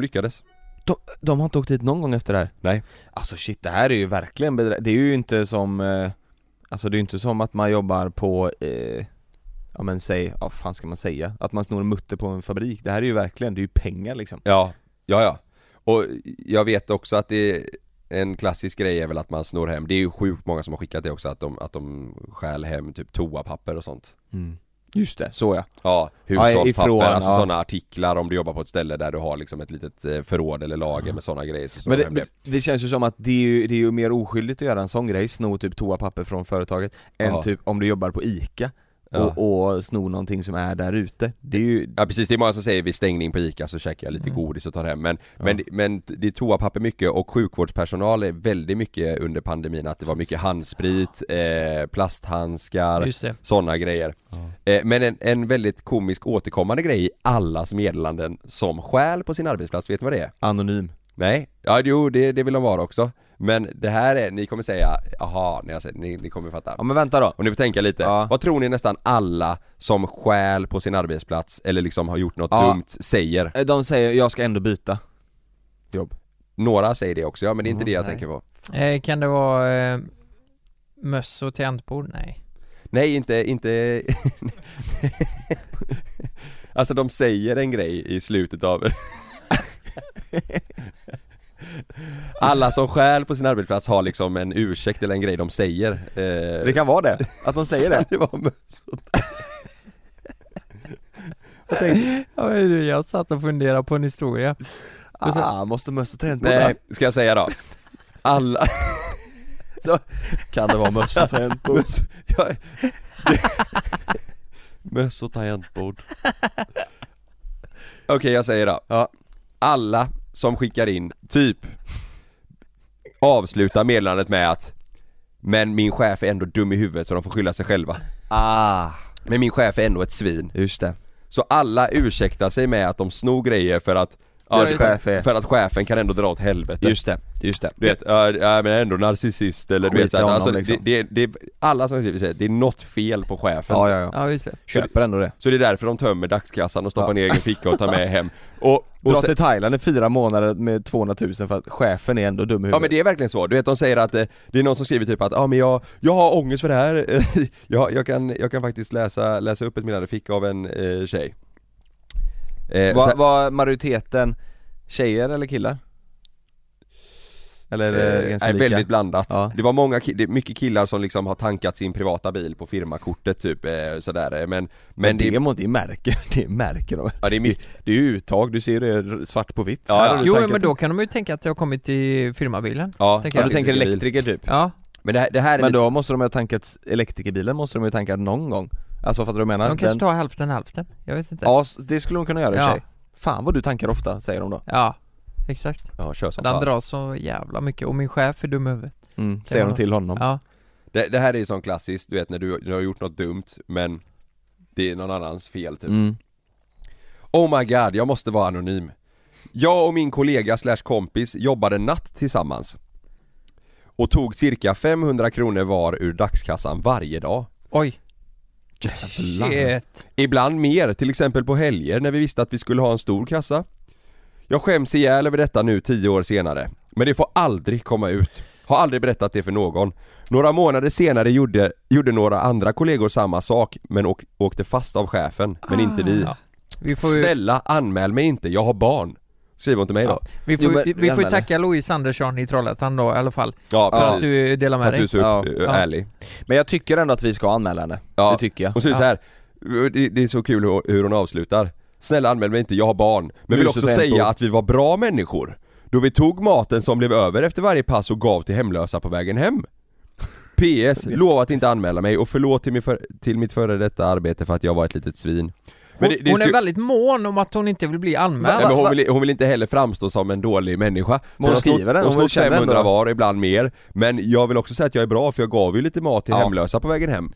Speaker 2: lyckades
Speaker 3: De, de har inte åkt dit någon gång efter det här?
Speaker 2: Nej.
Speaker 3: Alltså shit, det här är ju verkligen bedrä- Det är ju inte som, eh, alltså det är ju inte som att man jobbar på, eh, ja men säg, ja fan ska man säga? Att man snor mutter på en fabrik. Det här är ju verkligen, det är ju pengar liksom.
Speaker 2: Ja, ja ja Och jag vet också att det är en klassisk grej är väl att man snor hem, det är ju sjukt många som har skickat det också att de, att de stjäl hem typ toapapper och sånt
Speaker 3: Just det, så ja.
Speaker 2: Ja, hushållspapper,
Speaker 3: ifrån,
Speaker 2: alltså
Speaker 3: ja.
Speaker 2: sådana artiklar om du jobbar på ett ställe där du har liksom ett litet eh, förråd eller lager med sådana grejer så snor
Speaker 3: Mm. Men
Speaker 2: de
Speaker 3: det,
Speaker 2: hem det.
Speaker 3: men det känns ju som att det är ju, det är ju mer oskyldigt att göra en sån grej, sno typ toapapper från företaget, än
Speaker 2: Ja.
Speaker 3: typ om du jobbar på ICA
Speaker 2: Ja.
Speaker 3: och, och sno någonting som är där ute. Det är ju,
Speaker 2: Ja precis, det är många som säger vid stängning på ICA så käkar jag lite
Speaker 3: Mm.
Speaker 2: godis och tar hem men, men, det- men det är toapapper mycket och sjukvårdspersonal är väldigt mycket under pandemin att det var mycket handsprit,
Speaker 3: Ah.
Speaker 2: eh, plasthandskar,
Speaker 1: Just det.
Speaker 2: sådana grejer. Eh, men en, en väldigt komisk återkommande grej i allas meddelanden som stjäl på sin arbetsplats, vet ni vad det är?
Speaker 3: anonym.
Speaker 2: Nej, ja jo det, det vill de vara också. Men det här är, ni kommer säga, jaha, ni, har sett, ni, ni kommer fatta.
Speaker 3: Ja men vänta då.
Speaker 2: Och ni får tänka lite,
Speaker 3: Ja.
Speaker 2: vad tror ni nästan alla som stjäl på sin arbetsplats eller liksom har gjort något
Speaker 3: Ja.
Speaker 2: dumt säger?
Speaker 3: Eh, De säger jag ska ändå byta jobb.
Speaker 2: Några säger det också, ja men det är inte
Speaker 3: Ja,
Speaker 2: det jag
Speaker 3: nej.
Speaker 2: tänker på
Speaker 4: Eh, kan det vara eh, möss och tangentbord? Nej.
Speaker 2: Nej inte, inte *laughs* Alltså de säger en grej i slutet av *laughs* Alla som stjäl på sin arbetsplats har liksom en ursäkt eller en grej de säger eh,
Speaker 3: Det kan vara det, att de säger *laughs* det.
Speaker 2: *laughs* det var möss och
Speaker 1: *laughs*
Speaker 4: Ja, men du, jag satt och funderade på en historia. Och sen-
Speaker 3: Ah, måste möss och
Speaker 2: Nej,
Speaker 3: tangentbord
Speaker 2: ska jag säga då? Alla...
Speaker 3: Kan det vara möss *laughs* och tangentbord?
Speaker 2: *laughs* jag... Möss och tangentbord Okej, jag säger då
Speaker 3: Ja.
Speaker 2: Alla som skickar in, typ Avsluta meddelandet med att Men min chef är ändå dum i huvudet så de får skylla sig själva
Speaker 3: Ah,
Speaker 2: Men min chef är ändå ett svin
Speaker 3: just det.
Speaker 2: Så alla ursäktar sig med att de snor grejer för att
Speaker 3: Deras chef är-
Speaker 2: För att chefen kan ändå dra åt helvete
Speaker 3: Just det, just det.
Speaker 2: Du vet, ja ja, men ändå narcissist eller du
Speaker 3: Skit
Speaker 2: vet såhär,
Speaker 3: i honom,
Speaker 2: alltså,
Speaker 3: liksom.
Speaker 2: det, det, det, alla som skriver säger det är något fel på chefen
Speaker 3: Ja, ja, ja.
Speaker 4: Ja, just det.
Speaker 3: Köper ändå det.
Speaker 2: Så det är därför de tömmer dagskassan och stoppar
Speaker 3: Ja.
Speaker 2: ner i egen ficka och tar med hem och, och
Speaker 3: *laughs* Dra
Speaker 2: sen,
Speaker 3: till Thailand i fyra månader med 200 000 för att chefen är ändå dum i
Speaker 2: Ja men
Speaker 3: huvudet.
Speaker 2: det är verkligen så, du vet de säger att eh, det är någon som skriver typ att ja ah, men jag, jag har ångest för det här, *laughs* jag, jag, kan, jag kan faktiskt läsa, läsa upp ett meddelande jag fick av en eh, tjej eh,
Speaker 3: Var,
Speaker 2: sen-
Speaker 3: var majoriteten tjejer eller killar? Eller är det
Speaker 2: Eh,
Speaker 3: ganska
Speaker 2: nej,
Speaker 3: lika?
Speaker 2: väldigt blandat.
Speaker 3: Ja.
Speaker 2: Det var många, ki- det är mycket killar som liksom har tankat sin privata bil på firmakortet typ eh, sådär eh, men,
Speaker 3: Men det, må- det märker, *laughs* det märker de.
Speaker 2: ja, det är mycket,
Speaker 3: Det är ju uttag, du ser det svart på vitt.
Speaker 2: Ja,
Speaker 3: Här
Speaker 2: ja.
Speaker 3: har du
Speaker 4: Jo,
Speaker 3: tankat-
Speaker 4: men då kan de ju tänka att det har kommit i firmabilen.
Speaker 2: Ja,
Speaker 4: Tänker
Speaker 3: Ja,
Speaker 4: jag.
Speaker 3: du tänker
Speaker 2: Elektrikerbil.
Speaker 3: elektriker typ?
Speaker 4: Ja,
Speaker 2: Men det här, det här är
Speaker 3: Men
Speaker 2: lite,
Speaker 3: då måste de ju ha tankat, elektrikerbilen måste de ju ha tankat någon gång Alltså fattar du vad jag menar?
Speaker 4: de kanske
Speaker 3: Den-
Speaker 4: tar hälften hälften. Jag vet inte.
Speaker 3: Ja, s- det skulle de kunna göra i och för
Speaker 4: Ja.
Speaker 3: sig Fan vad du tankar ofta, säger de då
Speaker 4: Ja, exakt.
Speaker 2: ja, kör som
Speaker 4: Den
Speaker 2: fan.
Speaker 4: drar så jävla mycket och min chef är dum i huvudet.
Speaker 3: mm, Säger de
Speaker 4: man.
Speaker 3: till honom
Speaker 4: Ja,
Speaker 2: Det, det här är ju sån klassiskt, du vet när du, du har gjort något dumt men det är någon annans fel typ.
Speaker 3: mm.
Speaker 2: Oh my god, jag måste vara anonym. Jag och min kollega slash kompis jobbade natt tillsammans. Och tog cirka 500 kronor var ur dagskassan varje dag.
Speaker 4: oj.
Speaker 3: Jävlar.
Speaker 4: Shit.
Speaker 2: Ibland mer, till exempel på helger när vi visste att vi skulle ha en stor kassa. Jag skäms ihjäl över detta nu tio år senare. Men det får aldrig komma ut. Har aldrig berättat det för någon. Några månader senare gjorde, gjorde några andra kollegor samma sak men åk, åkte fast av chefen, men inte vi.
Speaker 4: Ah, Ja. Vi får ju,
Speaker 2: Snälla anmäl mig inte, jag har barn. Skriver hon till mig då?
Speaker 4: vi får,
Speaker 3: Jo, men-
Speaker 4: ju- vi får ju
Speaker 3: anmäler.
Speaker 4: tacka Louise Andersson i Trollhättan då i alla fall.
Speaker 2: Ja,
Speaker 4: För att
Speaker 2: precis.
Speaker 4: du delar
Speaker 2: För
Speaker 4: med
Speaker 2: att du är
Speaker 4: dig.
Speaker 2: så
Speaker 3: Ja,
Speaker 2: upp-
Speaker 4: ja.
Speaker 2: ärlig.
Speaker 3: Men jag tycker ändå att vi ska anmäla henne,
Speaker 2: Ja.
Speaker 3: det tycker jag
Speaker 2: Hon säger så här. Det, det är så kul hur, hur hon avslutar. Snälla anmäl mig inte, jag har barn. Men vill
Speaker 3: Mus och
Speaker 2: också säga
Speaker 3: tentbord.
Speaker 2: att vi var bra människor. Då vi tog maten som blev över efter varje pass och gav till hemlösa på vägen hem. PS, lova att inte anmäla mig och förlåt till, min för, till mitt före detta arbete för att jag var ett litet svin. Men
Speaker 4: Hon,
Speaker 2: det, det
Speaker 4: hon är
Speaker 2: skulle-
Speaker 4: väldigt mån om att hon inte vill bli anmäld.
Speaker 2: Nej, men hon, vill, hon vill inte heller framstå som en dålig människa. Så
Speaker 3: hon
Speaker 2: har snott-
Speaker 3: skriver den,
Speaker 2: Hon har
Speaker 3: hon
Speaker 2: snott
Speaker 3: känner ändå.
Speaker 2: 500 var, ibland mer. Men jag vill också säga att jag är bra för jag gav ju lite mat till
Speaker 3: Ja.
Speaker 2: hemlösa på vägen hem.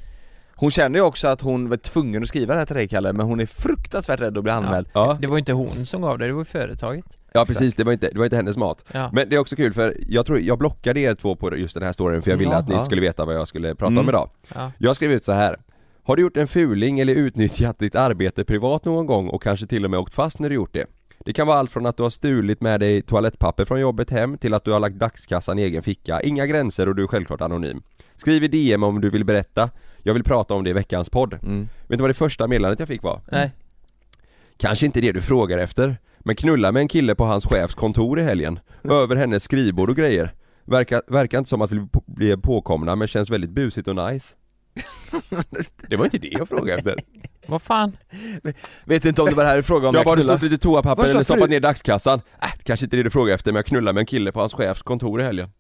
Speaker 3: Hon känner ju också att hon var tvungen att skriva det här till dig Kalle, men hon är fruktansvärt rädd att bli anmäld
Speaker 2: Ja,
Speaker 4: Det var inte hon som gav det, det var företaget.
Speaker 2: ja precis, det var, inte, det var inte hennes mat.
Speaker 4: Ja.
Speaker 2: Men det är också kul för jag tror, jag blockade er två på just den här storyn för jag ville
Speaker 3: Ja,
Speaker 2: att ni
Speaker 3: ja.
Speaker 2: inte skulle veta vad jag skulle prata om
Speaker 3: Mm.
Speaker 2: idag.
Speaker 4: Ja.
Speaker 2: Jag skrev ut så här. Har du gjort en fuling eller utnyttjat ditt arbete privat någon gång och kanske till och med åkt fast när du gjort det? Det kan vara allt från att du har stulit med dig toalettpapper från jobbet hem till att du har lagt dagskassan i egen ficka. Inga gränser och du är självklart anonym. Skriv i DM om du vill berätta. Jag vill prata om det i veckans podd.
Speaker 3: Mm.
Speaker 2: Vet du vad det första meddelandet jag fick var?
Speaker 1: Nej.
Speaker 2: Kanske inte det du frågar efter, men knulla med en kille på hans chefs kontor i helgen. Över hennes skrivbord och grejer. Verkar, verkar inte som att vi på- blir påkomna men känns väldigt busigt och
Speaker 3: *laughs*
Speaker 2: nice. Det var inte det jag frågade efter.
Speaker 1: Vad fan?
Speaker 3: Vet inte om det var det här i fråga om
Speaker 2: Jag har bara
Speaker 3: knulla.
Speaker 2: stått lite toapapper
Speaker 3: Vad sa
Speaker 2: eller stoppat
Speaker 3: fru?
Speaker 2: ner dagskassan. Äh, det kanske inte är det du frågar efter men jag knullade med en kille på hans chefs kontor i helgen.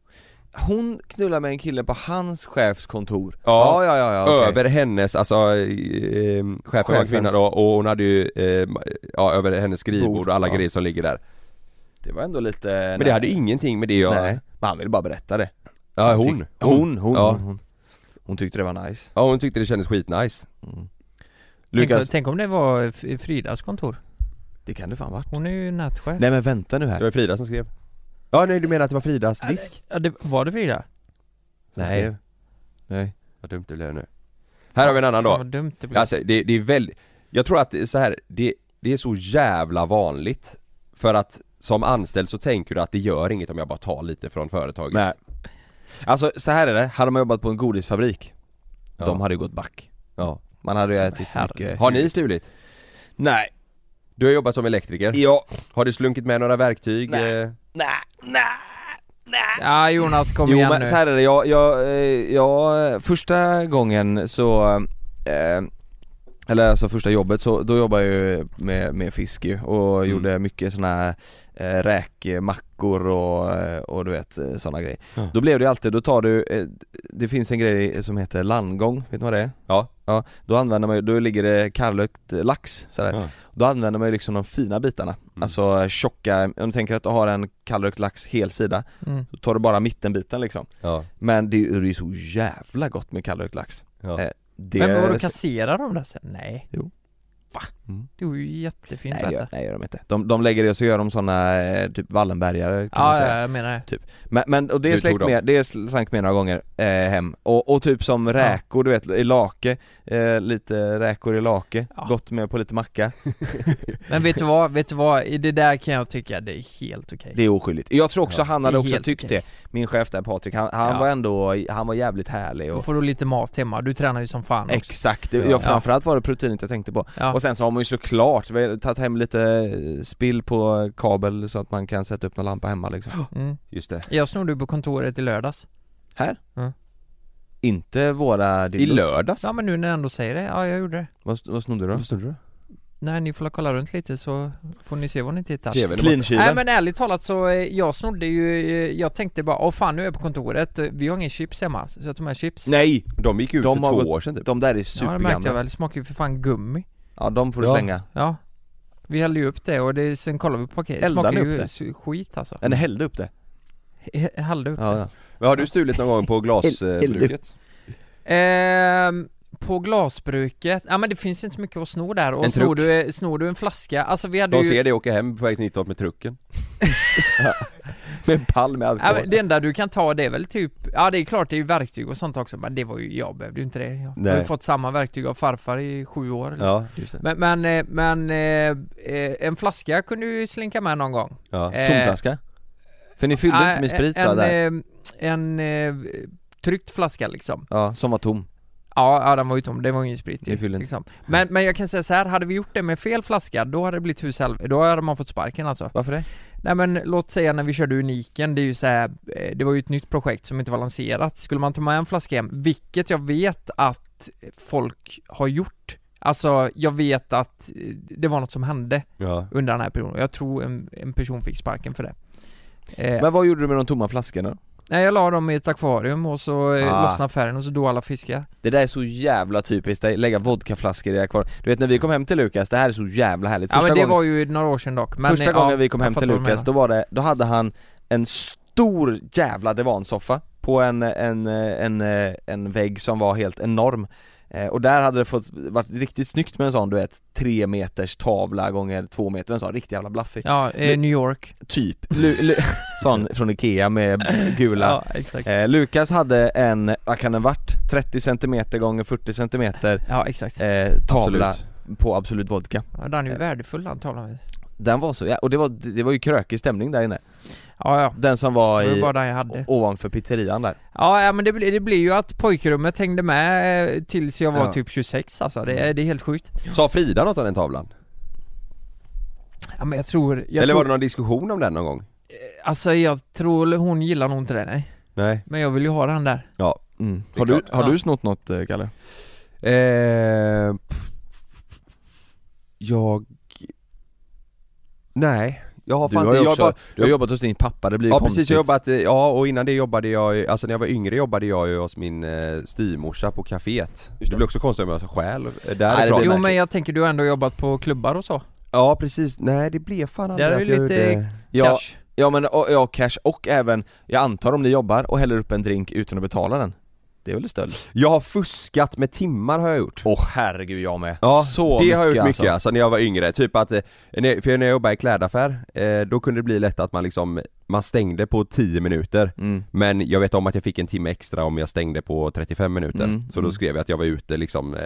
Speaker 3: Hon knullar med en kille på hans chefs kontor
Speaker 2: Ja.
Speaker 3: ja, ja, ja okej.
Speaker 2: Över hennes, alltså eh, chefen var
Speaker 3: Chefens.
Speaker 2: kvinna då och hon hade ju, eh, ja över hennes skrivbord
Speaker 3: Bord,
Speaker 2: och alla
Speaker 3: ja.
Speaker 2: grejer som ligger där.
Speaker 3: Det var ändå lite...
Speaker 2: Men det hade ju ingenting med det jag...
Speaker 3: Nej, men han ville bara berätta det
Speaker 2: Ja hon.
Speaker 3: Hon, hon,
Speaker 2: Ja.
Speaker 3: hon, hon. hon tyckte det var nice
Speaker 2: Ja hon tyckte det kändes skitnice.
Speaker 3: mm.
Speaker 1: Tänk,
Speaker 3: Lukas,
Speaker 1: tänk om det var F- Fridas kontor?
Speaker 3: det kan det fan varit
Speaker 1: Hon är ju nätchef.
Speaker 3: Nej men vänta nu
Speaker 2: Det
Speaker 3: här
Speaker 2: var Frida som skrev. Ja nej du menar att det var Fridas disk?
Speaker 1: Ja, det, var det Frida?
Speaker 3: Som
Speaker 2: Nej.
Speaker 3: skrev. Nej
Speaker 2: Vad dumt det blev nu. Här har vi en annan då.
Speaker 1: Fan vad dumt det blev.
Speaker 2: Alltså det, det är väldigt, jag tror att det är så här, det, det är så jävla vanligt För att som anställd så tänker du att det gör inget om jag bara tar lite från företaget
Speaker 3: Nej Alltså så här är det, hade man jobbat på en godisfabrik
Speaker 2: Ja.
Speaker 3: De hade ju gått back
Speaker 2: Ja.
Speaker 3: Man hade ju ätit så
Speaker 1: Herre.
Speaker 3: mycket
Speaker 2: Har ni stulit?
Speaker 3: Nej,
Speaker 2: Du har jobbat som elektriker?
Speaker 3: ja,
Speaker 2: Har du slunkit med några verktyg?
Speaker 3: Nej.
Speaker 2: Eh,
Speaker 3: nej, nej
Speaker 1: Ja Jonas kom
Speaker 3: Jo
Speaker 1: igen
Speaker 3: men
Speaker 1: nu.
Speaker 3: så här är det, jag, jag, eh, jag, första gången så eh, eller alltså första jobbet så, då jobbade jag ju med, med fisk ju och
Speaker 2: Mm.
Speaker 3: gjorde mycket såna här eh, räkmackor och, eh, och du vet eh, såna grejer.
Speaker 2: Ja.
Speaker 3: Då blev det ju alltid, då tar du, eh, det finns en grej som heter landgång, vet ni vad det är?
Speaker 2: Ja.
Speaker 3: Ja, då använder man ju, då ligger det kallökt eh, lax sådär.
Speaker 2: Ja.
Speaker 3: Då använder man ju liksom de fina bitarna,
Speaker 2: Mm.
Speaker 3: alltså eh, tjocka, om du tänker att du har en kallrökt lax hel sida,
Speaker 1: Mm.
Speaker 3: då tar du bara mittenbiten liksom
Speaker 2: ja.
Speaker 3: men det är ju det är så jävla gott med kallrökt lax
Speaker 2: Ja.
Speaker 3: Eh, det
Speaker 1: Men vadå, kasserar de det sen? Nej.
Speaker 3: Jo.
Speaker 1: Va?
Speaker 3: Mm.
Speaker 1: Det var ju jättefint
Speaker 3: nej, det gör,
Speaker 1: rätt.
Speaker 3: nej gör de inte. De, de lägger det och så gör de såna eh, typ Wallenbergare kan man
Speaker 1: Ja,
Speaker 3: säga
Speaker 1: ja, jag menar det.
Speaker 3: Men, men och
Speaker 2: Du
Speaker 3: det slank
Speaker 2: tog dem.
Speaker 3: med, det slank med några gånger eh, hem och, och typ som räkor du vet, i lake, eh, lite räkor i lake,
Speaker 1: Ja.
Speaker 3: gott med på lite macka
Speaker 1: Men vet du vad, vet du vad, I det där kan jag tycka det är helt okej.
Speaker 3: Det är oskyldigt. Jag tror också
Speaker 2: Ja,
Speaker 3: han
Speaker 1: det är
Speaker 3: hade också
Speaker 1: helt
Speaker 3: tyckt
Speaker 1: okej.
Speaker 3: det, min chef där Patrik, han, han
Speaker 1: Ja.
Speaker 3: var ändå, han var jävligt härlig
Speaker 1: Då
Speaker 3: och
Speaker 1: får du lite mat hemma, du tränar ju som fan också.
Speaker 3: Exakt, det-
Speaker 2: Ja.
Speaker 3: ja, framförallt var det proteinet jag tänkte på
Speaker 1: Ja.
Speaker 3: Och sen så har man ju såklart väl tagit hem lite eh, spill på kabel så att man kan sätta upp någon lampa hemma liksom
Speaker 1: *gasps* Mm.
Speaker 2: Just det
Speaker 1: Jag snodde ju på kontoret i lördags.
Speaker 3: Inte våra
Speaker 2: I
Speaker 3: dildos
Speaker 2: lördags?
Speaker 1: Ja men nu när jag ändå säger det, ja jag gjorde det.
Speaker 3: Vad, vad snodde du då?
Speaker 2: Vad snurrar du?
Speaker 1: Nej ni får la kolla runt lite så får ni se vad ni tittar.
Speaker 2: Tvn är borta.
Speaker 3: Clean-kylen?
Speaker 1: Nej men ärligt talat så, eh, jag snodde ju, eh, jag tänkte bara åh fan nu är jag på kontoret, Eh, vi har ingen chips hemma, så jag tog med chips.
Speaker 3: Nej!
Speaker 2: De gick ut
Speaker 3: De
Speaker 2: för
Speaker 3: har
Speaker 2: två
Speaker 3: gått-
Speaker 2: år sedan typ
Speaker 3: De där är
Speaker 1: ja det märkte jag
Speaker 3: supergamla
Speaker 1: väl, det smakar ju för fan gummi.
Speaker 3: Ja de får du
Speaker 2: Ja.
Speaker 3: slänga
Speaker 1: Ja. Vi hällde ju upp det och det, sen kollade vi på paketet, det
Speaker 3: Eldar
Speaker 1: smakar
Speaker 3: ni upp
Speaker 1: ju
Speaker 3: det?
Speaker 1: s- skit alltså.
Speaker 3: Eller hällde upp det
Speaker 1: He- Hällde upp
Speaker 3: Ja,
Speaker 1: det.
Speaker 3: ja. *laughs*
Speaker 2: Men har du stulit någon gång på eh, glasbruket?
Speaker 1: Ehm, på glasbruket, ja men det finns inte så mycket att sno där
Speaker 2: En
Speaker 1: och snor
Speaker 2: truck.
Speaker 1: du, eh, snor du en flaska, alltså vi hade
Speaker 2: De
Speaker 1: ju
Speaker 2: ser dig åka hem på väg till Nittorp med trucken
Speaker 3: Med en pall med
Speaker 1: Ja,
Speaker 3: alkohol
Speaker 1: men det enda du kan ta det är väl typ, ja det är klart det är ju verktyg och sånt också men det var ju, jag behövde ju inte det. Jag har
Speaker 2: Nej.
Speaker 1: ju fått samma verktyg av farfar i sju år liksom.
Speaker 2: Ja, just det
Speaker 1: Men, men, eh, men eh, eh, en flaska kunde du ju slinka med någon gång.
Speaker 2: ja.
Speaker 1: Eh,
Speaker 3: Tomflaska? För ni fyllde
Speaker 1: ja,
Speaker 3: inte med sprit va,
Speaker 1: Ah, en, eh,
Speaker 3: där?
Speaker 1: en, en eh, tryckt flaska liksom.
Speaker 3: Ja, som var tom
Speaker 1: Ja, ja den var ju tom, det var ingen sprit
Speaker 3: Ni
Speaker 1: i,
Speaker 3: fyllde inte.
Speaker 1: liksom. men, men jag kan säga så här, hade vi gjort det med fel flaska då hade det blivit hus helv- då hade man fått sparken alltså.
Speaker 3: Varför det?
Speaker 1: Nej men låt säga när vi körde Uniken, det är ju så här, eh, det var ju ett nytt projekt som inte var lanserat. Skulle man ta med en flaska hem, vilket jag vet att folk har gjort. Alltså jag vet att eh, det var något som hände
Speaker 2: ja.
Speaker 1: under den här perioden. Jag tror en, en person fick sparken för det. Eh,
Speaker 3: Men vad gjorde du med de tomma flaskorna?
Speaker 1: nej, jag la dem i ett akvarium och så
Speaker 3: Ah.
Speaker 1: ah. lossnade färgen och så dog alla fiskar.
Speaker 3: Det där är så jävla typiskt dig, lägga vodkaflaskor i akvariet Du vet när vi kom hem till Lukas, det här är så jävla härligt
Speaker 1: Ja men det
Speaker 3: gången-
Speaker 1: var ju några år sedan dock. Men,
Speaker 3: Första
Speaker 1: eh,
Speaker 3: gången
Speaker 1: ja,
Speaker 3: vi kom
Speaker 1: jag
Speaker 3: hem till
Speaker 1: fattar vad du
Speaker 3: Lukas, då var det, då hade han en stor jävla divansoffa på en, en, en, en, en vägg som var helt enorm Eh, och där hade det fått, varit riktigt snyggt med en sån du vet, tre meters tavla gånger två meter, en sån riktigt jävla blaffig
Speaker 1: Ja, eh,
Speaker 3: Men-
Speaker 1: New York.
Speaker 3: Typ, Lu,
Speaker 1: *laughs*
Speaker 3: lu, sån från Ikea med *laughs* gula
Speaker 1: Ja, exakt.
Speaker 3: eh, Lukas hade en, vad kan den varit? 30 cm gånger 40 cm
Speaker 1: Ja exakt.
Speaker 3: eh, tavla på Absolut Vodka
Speaker 1: Ja, den är ju värdefull antagligen.
Speaker 3: Den var så, ja, och det var, det var ju krökig stämning där inne
Speaker 1: Ja ja,
Speaker 3: Den som var
Speaker 1: det var ju
Speaker 3: i,
Speaker 1: bara den jag hade.
Speaker 3: ovanför pizzerian där
Speaker 1: Ja, ja men det, blir- det blir ju att pojkrummet hängde med eh, tills jag var
Speaker 3: Ja. Mm.
Speaker 1: typ 26 alltså, det, är- det är helt sjukt.
Speaker 2: Sa Frida något om den tavlan?
Speaker 1: Ja, men jag tror, jag
Speaker 2: Eller
Speaker 1: tror,
Speaker 2: var det någon diskussion om den någon gång?
Speaker 1: alltså jag tror hon gillar nog inte det nej.
Speaker 2: Nej
Speaker 1: Men jag vill ju ha den där.
Speaker 2: Ja
Speaker 3: mm.
Speaker 2: Det är
Speaker 3: Har, du,
Speaker 2: klart.
Speaker 3: har
Speaker 1: Ja.
Speaker 3: du snott något eh, Kalle?
Speaker 2: eh, pff, Jag... Nej Jag har
Speaker 3: Du
Speaker 2: fan
Speaker 3: har,
Speaker 2: inte,
Speaker 3: ju
Speaker 2: jag
Speaker 3: också,
Speaker 2: bara...
Speaker 3: du har jobbat hos din pappa, det blir
Speaker 2: Ja
Speaker 3: konstigt
Speaker 2: precis, jag har jobbat, eh, ja och innan det jobbade jag, ju- alltså när jag var yngre jobbade jag ju hos min eh, styvmorsa på kaféet Det blir också konstigt om jag stjäl eh, därifrån
Speaker 3: blir
Speaker 1: Jo
Speaker 3: märkligt.
Speaker 1: men jag tänker du har ändå jobbat på klubbar och så?
Speaker 2: Ja precis, nej det blev fan
Speaker 1: Det
Speaker 2: aldrig
Speaker 1: är
Speaker 2: att jag
Speaker 1: väl lite
Speaker 2: gjorde...
Speaker 3: ja,
Speaker 1: cash?
Speaker 3: ja men och, ja, cash och även, jag antar om ni jobbar och häller upp en drink utan att betala den Det är väl stöld?
Speaker 2: Jag har fuskat med timmar har jag gjort
Speaker 3: Åh herregud jag med!
Speaker 2: Ja,
Speaker 3: så
Speaker 2: det
Speaker 3: mycket,
Speaker 2: har jag gjort mycket
Speaker 3: alltså.
Speaker 2: alltså. när jag var yngre, typ att, eh, när- för när jag jobbade i klädaffär, eh, då kunde det bli lätt att man liksom, man stängde på 10 minuter
Speaker 3: Mm.
Speaker 2: Men jag vet om att jag fick en timme extra om jag stängde på 35 minuter
Speaker 3: Mm,
Speaker 2: Så
Speaker 3: mm.
Speaker 2: då skrev jag att jag var ute liksom, eh,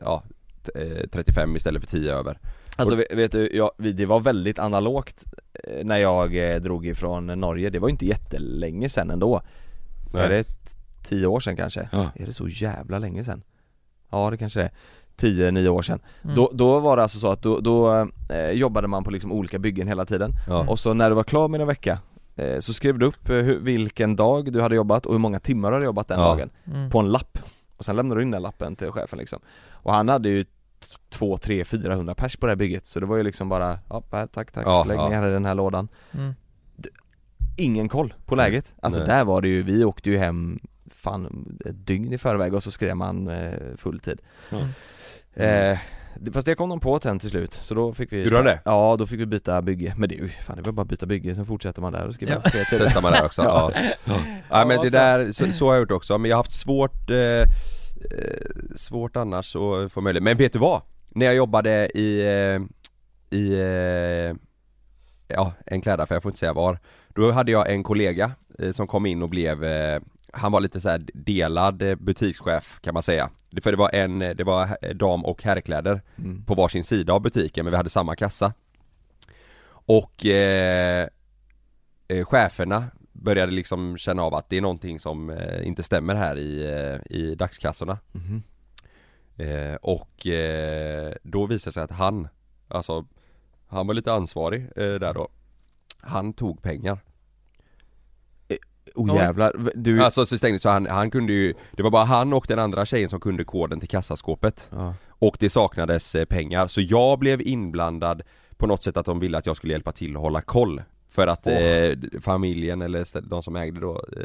Speaker 2: ja, t- eh, 35 istället för 10 över
Speaker 3: Alltså ve- vet du, jag, vi, det var väldigt analogt eh, när jag eh, drog ifrån Norge, det var ju inte jättelänge sen ändå
Speaker 2: Nej.
Speaker 3: Är det t- tio år sedan kanske?
Speaker 2: Ja.
Speaker 3: Är det så jävla länge sen? Ja det kanske det är, tio, nio år sedan
Speaker 1: Mm.
Speaker 3: då, då var det alltså så att då, då eh, jobbade man på liksom olika byggen hela tiden
Speaker 2: Ja.
Speaker 3: Och så när du var klar med en vecka eh, så skrev du upp eh, hur, vilken dag du hade jobbat och hur många timmar du hade jobbat den
Speaker 2: Ja.
Speaker 3: dagen
Speaker 1: Mm.
Speaker 3: på en lapp och sen lämnade du in den lappen till chefen liksom och han hade ju t- två, tre, 400 pers på det här bygget så det var ju liksom bara ja, här, tack, tack,
Speaker 2: Ja,
Speaker 3: lägg
Speaker 2: ja.
Speaker 3: ner här i den här lådan
Speaker 1: Mm.
Speaker 3: Ingen koll på läget, alltså
Speaker 2: Nej.
Speaker 3: där var det ju, vi åkte ju hem fan ett dygn i förväg och så skrev man eh, fulltid
Speaker 2: Ja. Mm.
Speaker 3: eh, det- Fast det kom de på sen till slut, så då fick vi
Speaker 2: Gjorde de det?
Speaker 3: Ja, då fick vi byta bygge, men det är ju, fan det var bara att byta bygge, sen fortsätter man där och skriver
Speaker 1: Ja.
Speaker 3: fler
Speaker 2: *laughs*
Speaker 3: tider
Speaker 2: Testar man det också, ja. Ja. ja men det
Speaker 1: alltså.
Speaker 2: där, så, så har jag gjort också, men jag har haft svårt eh, eh, Svårt annars att få möjlighet, men vet du vad? När jag jobbade i, eh, i eh, Ja, en klädaffär, jag får inte säga var Då hade jag en kollega eh, som kom in och blev eh, Han var lite så här delad eh, butikschef kan man säga För det var en, eh, det var eh, dam och herrkläder
Speaker 3: mm.
Speaker 2: på varsin sida av butiken men vi hade samma kassa Och eh, eh, cheferna började liksom känna av att det är någonting som eh, inte stämmer här i, eh, i dagskassorna
Speaker 3: Mhm.
Speaker 2: eh, Och eh, då visade det sig att han, alltså han var lite ansvarig eh, där då han tog pengar.
Speaker 3: Oh jävlar, V- du...
Speaker 2: Alltså så stängde så han, han kunde ju Det var bara han och den andra tjejen som kunde koden till kassaskåpet
Speaker 3: ja.
Speaker 2: Och det saknades eh, pengar, så jag blev inblandad på något sätt att de ville att jag skulle hjälpa till att hålla koll För att
Speaker 3: Åh.
Speaker 2: eh, familjen eller stä- de som ägde då eh,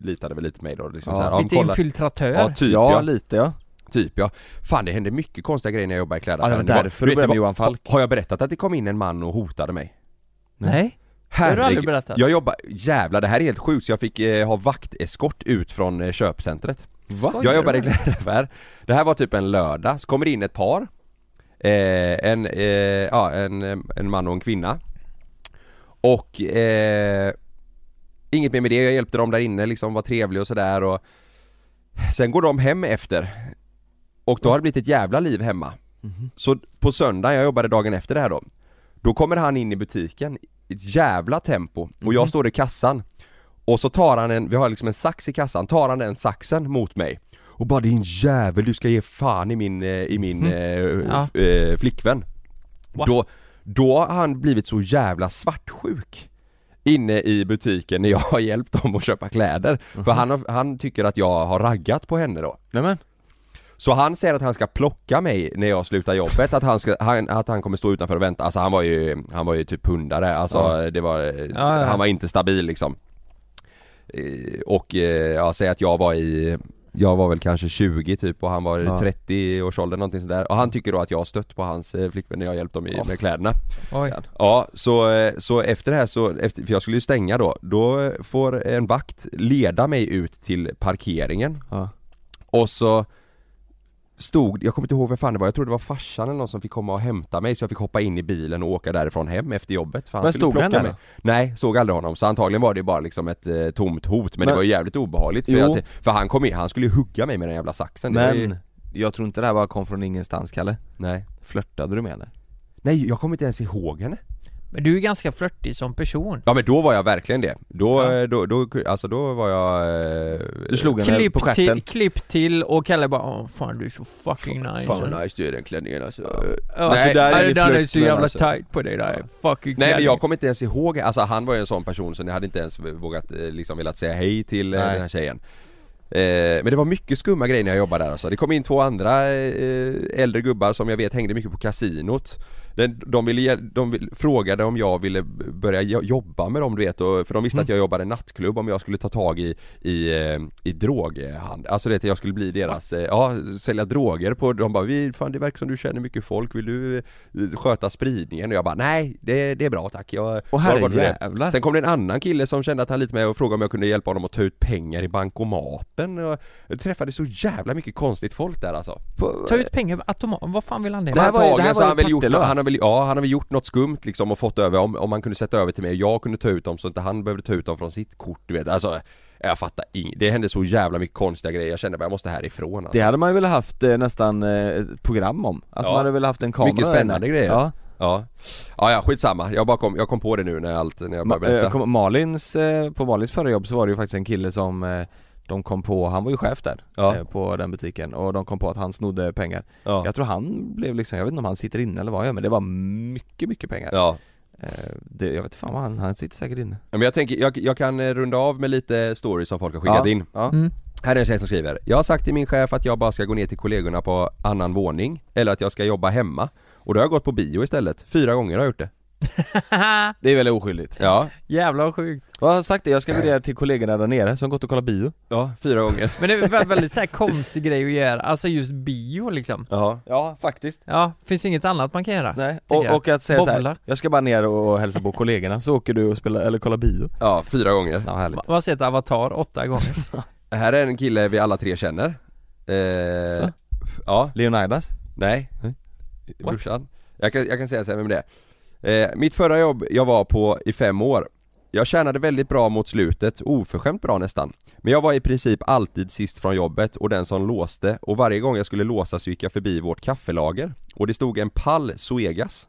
Speaker 2: litade väl lite på mig då liksom
Speaker 3: Ja,
Speaker 2: så här, ja, men
Speaker 1: Lite
Speaker 2: kolla.
Speaker 1: infiltratör?
Speaker 2: Ja typ
Speaker 3: ja,
Speaker 2: ja,
Speaker 3: lite ja.
Speaker 2: typ ja Fan det hände mycket konstiga grejer när jag jobbade i
Speaker 3: ja det
Speaker 2: klädaffären
Speaker 3: var Alltså, därför
Speaker 2: vet
Speaker 3: du började med
Speaker 2: vad-
Speaker 3: Johan Falk.
Speaker 2: ha- Har jag berättat att det kom in en man och hotade mig?
Speaker 1: Nej? Det har du aldrig berättat?
Speaker 2: Jag jobbar, jävlar det här är helt sjukt så jag fick eh, ha vakteskort ut från eh, köpcentret
Speaker 3: Va?
Speaker 1: Skojar
Speaker 2: Jag
Speaker 1: du
Speaker 2: jobbade i
Speaker 1: med
Speaker 2: klädaffär, det här var typ en lördag, så kommer det in ett par eh, en, eh, ja, en, eh, en man och en kvinna Och eh, Inget mer med det, jag hjälpte dem där inne liksom, var trevlig och sådär och Sen går de hem efter Och då har det blivit ett jävla liv hemma
Speaker 3: Mhm.
Speaker 2: Så på söndag, jag jobbade dagen efter det här då Då kommer han in i butiken i ett jävla tempo och jag står i kassan Och så tar han en, vi har liksom en sax i kassan, tar han den saxen mot mig Och bara din jävel, du ska ge fan i min, eh, i min eh,
Speaker 1: Ja.
Speaker 2: f- eh, flickvän
Speaker 1: Va?
Speaker 2: då, då har han blivit så jävla svartsjuk Inne i butiken när jag har hjälpt dem att köpa kläder För han, har, han tycker att jag har raggat på henne då
Speaker 3: Nej men,
Speaker 2: så han säger att han ska plocka mig när jag slutar jobbet, att han, ska, han, att han kommer stå utanför och vänta. Alltså han var ju, han var ju typ hundare, alltså
Speaker 3: Ja.
Speaker 2: det var,
Speaker 1: ja, ja.
Speaker 2: han var inte stabil liksom. Eh, Och eh, ja, säg att jag var i, jag var väl kanske 20 typ och han var i
Speaker 3: Ja.
Speaker 2: 30 års ålder någonting sådär. Och han tycker då att jag har stött på hans eh, flickvän när jag har hjälpt dem i,
Speaker 3: Åh.
Speaker 2: med kläderna.
Speaker 1: Oj.
Speaker 2: Ja, så, eh, så efter det här så, efter, för jag skulle ju stänga då, då får en vakt leda mig ut till parkeringen
Speaker 3: ja.
Speaker 2: och så Stod, jag kommer inte ihåg vem fan det var, jag tror det var farsan eller någon som fick komma och hämta mig så jag fick hoppa in i bilen och åka därifrån hem efter jobbet för han
Speaker 3: Men
Speaker 2: skulle
Speaker 3: stod
Speaker 2: plocka
Speaker 3: han där
Speaker 2: mig.
Speaker 3: då?
Speaker 2: Nej, såg aldrig honom, så antagligen var det bara liksom ett eh, tomt hot men, det
Speaker 3: Men-
Speaker 2: var ju jävligt obehagligt för,
Speaker 3: Jo.
Speaker 2: jag, för han kom in, han skulle ju hugga mig med den jävla saxen det var ju,
Speaker 3: Men jag tror inte det här bara kom från ingenstans Kalle
Speaker 2: nej.
Speaker 3: Flörtade du med henne?
Speaker 2: nej, jag kommer inte ens ihåg henne
Speaker 4: Men du är ganska flörtig som person.
Speaker 2: Ja men då var jag verkligen det, då,
Speaker 4: Ja.
Speaker 2: eh, då, då, alltså då var jag... eh,
Speaker 3: Du slog henne på
Speaker 1: Klipp
Speaker 3: stjärten?
Speaker 1: till, klipp till och Kalle bara Åh, fan du är så fucking nice
Speaker 2: Fan vad nice du är i den klänningen alltså.
Speaker 1: Ja,
Speaker 2: Nej,
Speaker 1: alltså, där är, den är
Speaker 2: flörten,
Speaker 1: så jävla
Speaker 2: alltså.
Speaker 1: tight på dig där, fucking
Speaker 2: Nej men
Speaker 1: jävla-
Speaker 2: jag kommer inte ens ihåg, alltså han var ju en sån person så jag hade inte ens vågat eh, liksom velat säga hej till eh,
Speaker 3: Nej.
Speaker 2: den här tjejen eh, Men det var mycket skumma grejer när jag jobbade där alltså. Det kom in två andra eh, äldre gubbar som jag vet hängde mycket på kasinot Den, de, ville, ge- de vill- frågade om jag ville börja jo- jobba med dem du vet, och, för de visste att jag jobbade i nattklubb om jag skulle ta tag i, i, eh, i droghandel, alltså det jag skulle bli deras, eh, ja sälja droger på, de bara vi, fan det verkar som du känner mycket folk, vill du eh, sköta spridningen? Och jag bara nej, det, det är bra tack, jag
Speaker 3: Och
Speaker 2: jag har varit med det."
Speaker 3: herrejävlar!
Speaker 2: Sen kom det en annan kille som kände att han lite med och frågade om jag kunde hjälpa honom att ta ut pengar i bankomaten och jag träffade så jävla mycket konstigt folk där alltså.
Speaker 3: På-
Speaker 4: Ta ut pengar automatiskt, vad fan vill han det? Alltså,
Speaker 3: Det här var ju-
Speaker 2: Antagligen
Speaker 3: det här
Speaker 2: så
Speaker 3: var ju
Speaker 2: han, väl gjort,
Speaker 3: Partille, va?
Speaker 2: han, har väl, ja, han har väl gjort något skumt liksom och fått över, om, om han kunde sätta över till mig och jag kunde ta ut dem så inte han behövde ta ut dem från sitt kort du vet. Alltså, jag fattar inget. Det hände så jävla mycket konstiga grejer, jag kände bara jag måste härifrån alltså.
Speaker 3: Det hade man ju velat haft eh, nästan eh, ett program om, alltså
Speaker 2: Ja.
Speaker 3: man hade velat haft en kamera
Speaker 2: Mycket
Speaker 3: där inne.
Speaker 2: spännande grejer.
Speaker 3: Ja,
Speaker 2: Ja. ja, ja skitsamma. Jag bara kom, jag kom på det nu när allt, när jag
Speaker 3: Ma-
Speaker 2: bara
Speaker 3: eh,
Speaker 2: berättade.
Speaker 3: kom, Malins, eh, på Malins förra jobb så var det ju faktiskt en kille som eh, de kom på, han var ju chef där
Speaker 2: Ja.
Speaker 3: eh, på den butiken och de kom på att han snodde pengar
Speaker 2: Ja.
Speaker 3: Jag tror han blev liksom, jag vet inte om han sitter inne eller vad han gör men det var mycket, mycket pengar
Speaker 2: Ja.
Speaker 3: eh, det, Jag vet inte fan vad han, han sitter säkert inne
Speaker 2: Ja, Men jag tänker, jag, jag kan eh, runda av med lite stories som folk har skickat
Speaker 3: Ja.
Speaker 2: in.
Speaker 3: Ja.
Speaker 4: Mm.
Speaker 2: Här är en tjej som skriver. Jag har sagt till min chef att jag bara ska gå ner till kollegorna på annan våning, eller att jag ska jobba hemma. Och då har jag gått på bio istället. Fyra gånger har jag gjort det.
Speaker 3: Det är väldigt oskyldigt
Speaker 2: Ja.
Speaker 4: Jävlar vad sjukt.
Speaker 3: Jag har sagt det, jag ska bjuda till kollegorna där nere som gått och kollat bio
Speaker 2: Ja, fyra *laughs* gånger.
Speaker 4: Men det var en väldigt så här konstig grej att göra, alltså just bio liksom.
Speaker 2: ja.
Speaker 3: Ja, faktiskt
Speaker 4: Ja, finns inget annat man kan göra.
Speaker 3: Nej,
Speaker 4: Tänker
Speaker 3: och,
Speaker 4: jag.
Speaker 3: och att säga så
Speaker 4: Bowla.
Speaker 3: här, jag ska bara ner och hälsa på kollegorna så åker du och spelar, eller kollar bio
Speaker 2: ja, fyra gånger.
Speaker 3: Ja, härligt
Speaker 4: Man har sett Avatar åtta gånger.
Speaker 2: Här är en kille vi alla tre känner. Eh,
Speaker 3: Så.
Speaker 2: Ja,
Speaker 3: Leonidas?
Speaker 2: nej.
Speaker 3: Nej.
Speaker 2: Brorsan. Jag kan, jag kan säga så här, vem det är. Eh, mitt förra jobb jag var på i fem år. Jag tjänade väldigt bra mot slutet, oförskämt bra nästan. Men jag var i princip alltid sist från jobbet och den som låste och varje gång jag skulle låsa så gick jag förbi vårt kaffelager och det stod en pall Zoegas.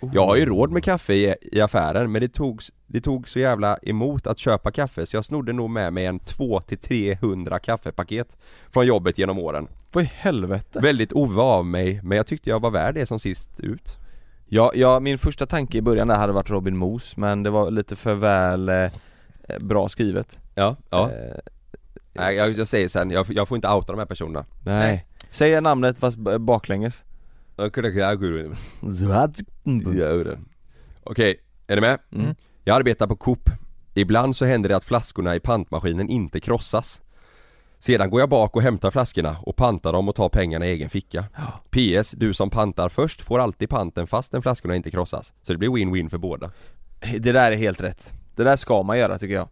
Speaker 2: Oh. Jag har ju råd med kaffe i, i affären men det tog, det tog så jävla emot att köpa kaffe så jag snodde nog med mig en 200-300 kaffepaket från jobbet genom åren.
Speaker 3: Vad i helvete?
Speaker 2: Väldigt ova av mig men jag tyckte jag var värd det som sist ut.
Speaker 3: Ja, ja, min första tanke i början där hade varit Robin Moos men det var lite för väl eh, bra skrivet
Speaker 2: Ja, ja.
Speaker 3: eh,
Speaker 2: Nej, jag, jag säger sen, jag, jag får inte outa de här personerna.
Speaker 3: Nej Säg namnet fast b- baklänges
Speaker 2: Jag kunde- jag kunde-
Speaker 4: *laughs*
Speaker 3: Zlatko
Speaker 2: Jag gjorde det. Okej, är ni med?
Speaker 3: Mm.
Speaker 2: Jag arbetar på Coop. Ibland så händer det att flaskorna i pantmaskinen inte krossas. Sedan går jag bak och hämtar flaskorna och pantar dem och tar pengarna i egen
Speaker 4: *gasps*
Speaker 2: ficka. PS, du som pantar först får alltid panten fastän flaskorna inte krossas. Så det blir win-win för båda.
Speaker 3: Det där är helt rätt Det där ska man göra tycker jag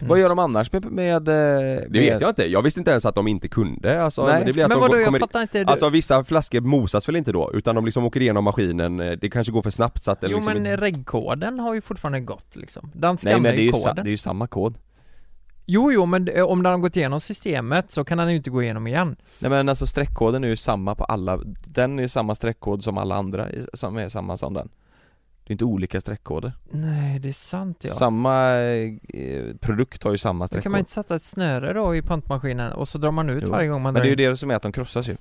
Speaker 3: Vad gör de annars med, med, eh,
Speaker 2: Det
Speaker 3: med
Speaker 2: vet jag inte, jag visste inte ens att de inte kunde alltså,
Speaker 3: Nej.
Speaker 2: det blir att
Speaker 4: Men
Speaker 2: de
Speaker 4: vadå,
Speaker 2: går-
Speaker 4: jag
Speaker 2: kommer...
Speaker 4: fattar inte. Du...
Speaker 2: Alltså vissa flaskor mosas väl inte då? Utan de liksom åker igenom maskinen, eh, det kanske går för snabbt så att det
Speaker 4: jo
Speaker 2: liksom
Speaker 4: men
Speaker 2: inte...
Speaker 4: regkoden har ju fortfarande gått liksom. Den
Speaker 3: Nej
Speaker 4: skannar
Speaker 3: men det är,
Speaker 4: ju
Speaker 3: ju sa, det
Speaker 4: koden.
Speaker 3: är ju samma kod
Speaker 4: Jo jo men eh, om den har gått igenom systemet så kan den ju inte gå igenom igen.
Speaker 3: Nej men alltså streckkoden är ju samma på alla Den är ju samma streckkod som alla andra i- som är samma som den Det är inte olika streckkoder
Speaker 4: Nej det är sant ja.
Speaker 3: Samma eh, produkt har ju samma
Speaker 4: Då
Speaker 3: streckkod
Speaker 4: kan man inte sätta ett snöre då i pantmaskinen och så drar man ut
Speaker 3: Jo.
Speaker 4: varje gång man
Speaker 3: Men
Speaker 4: drar
Speaker 3: det är ju
Speaker 4: ut.
Speaker 3: det som är att de krossas ju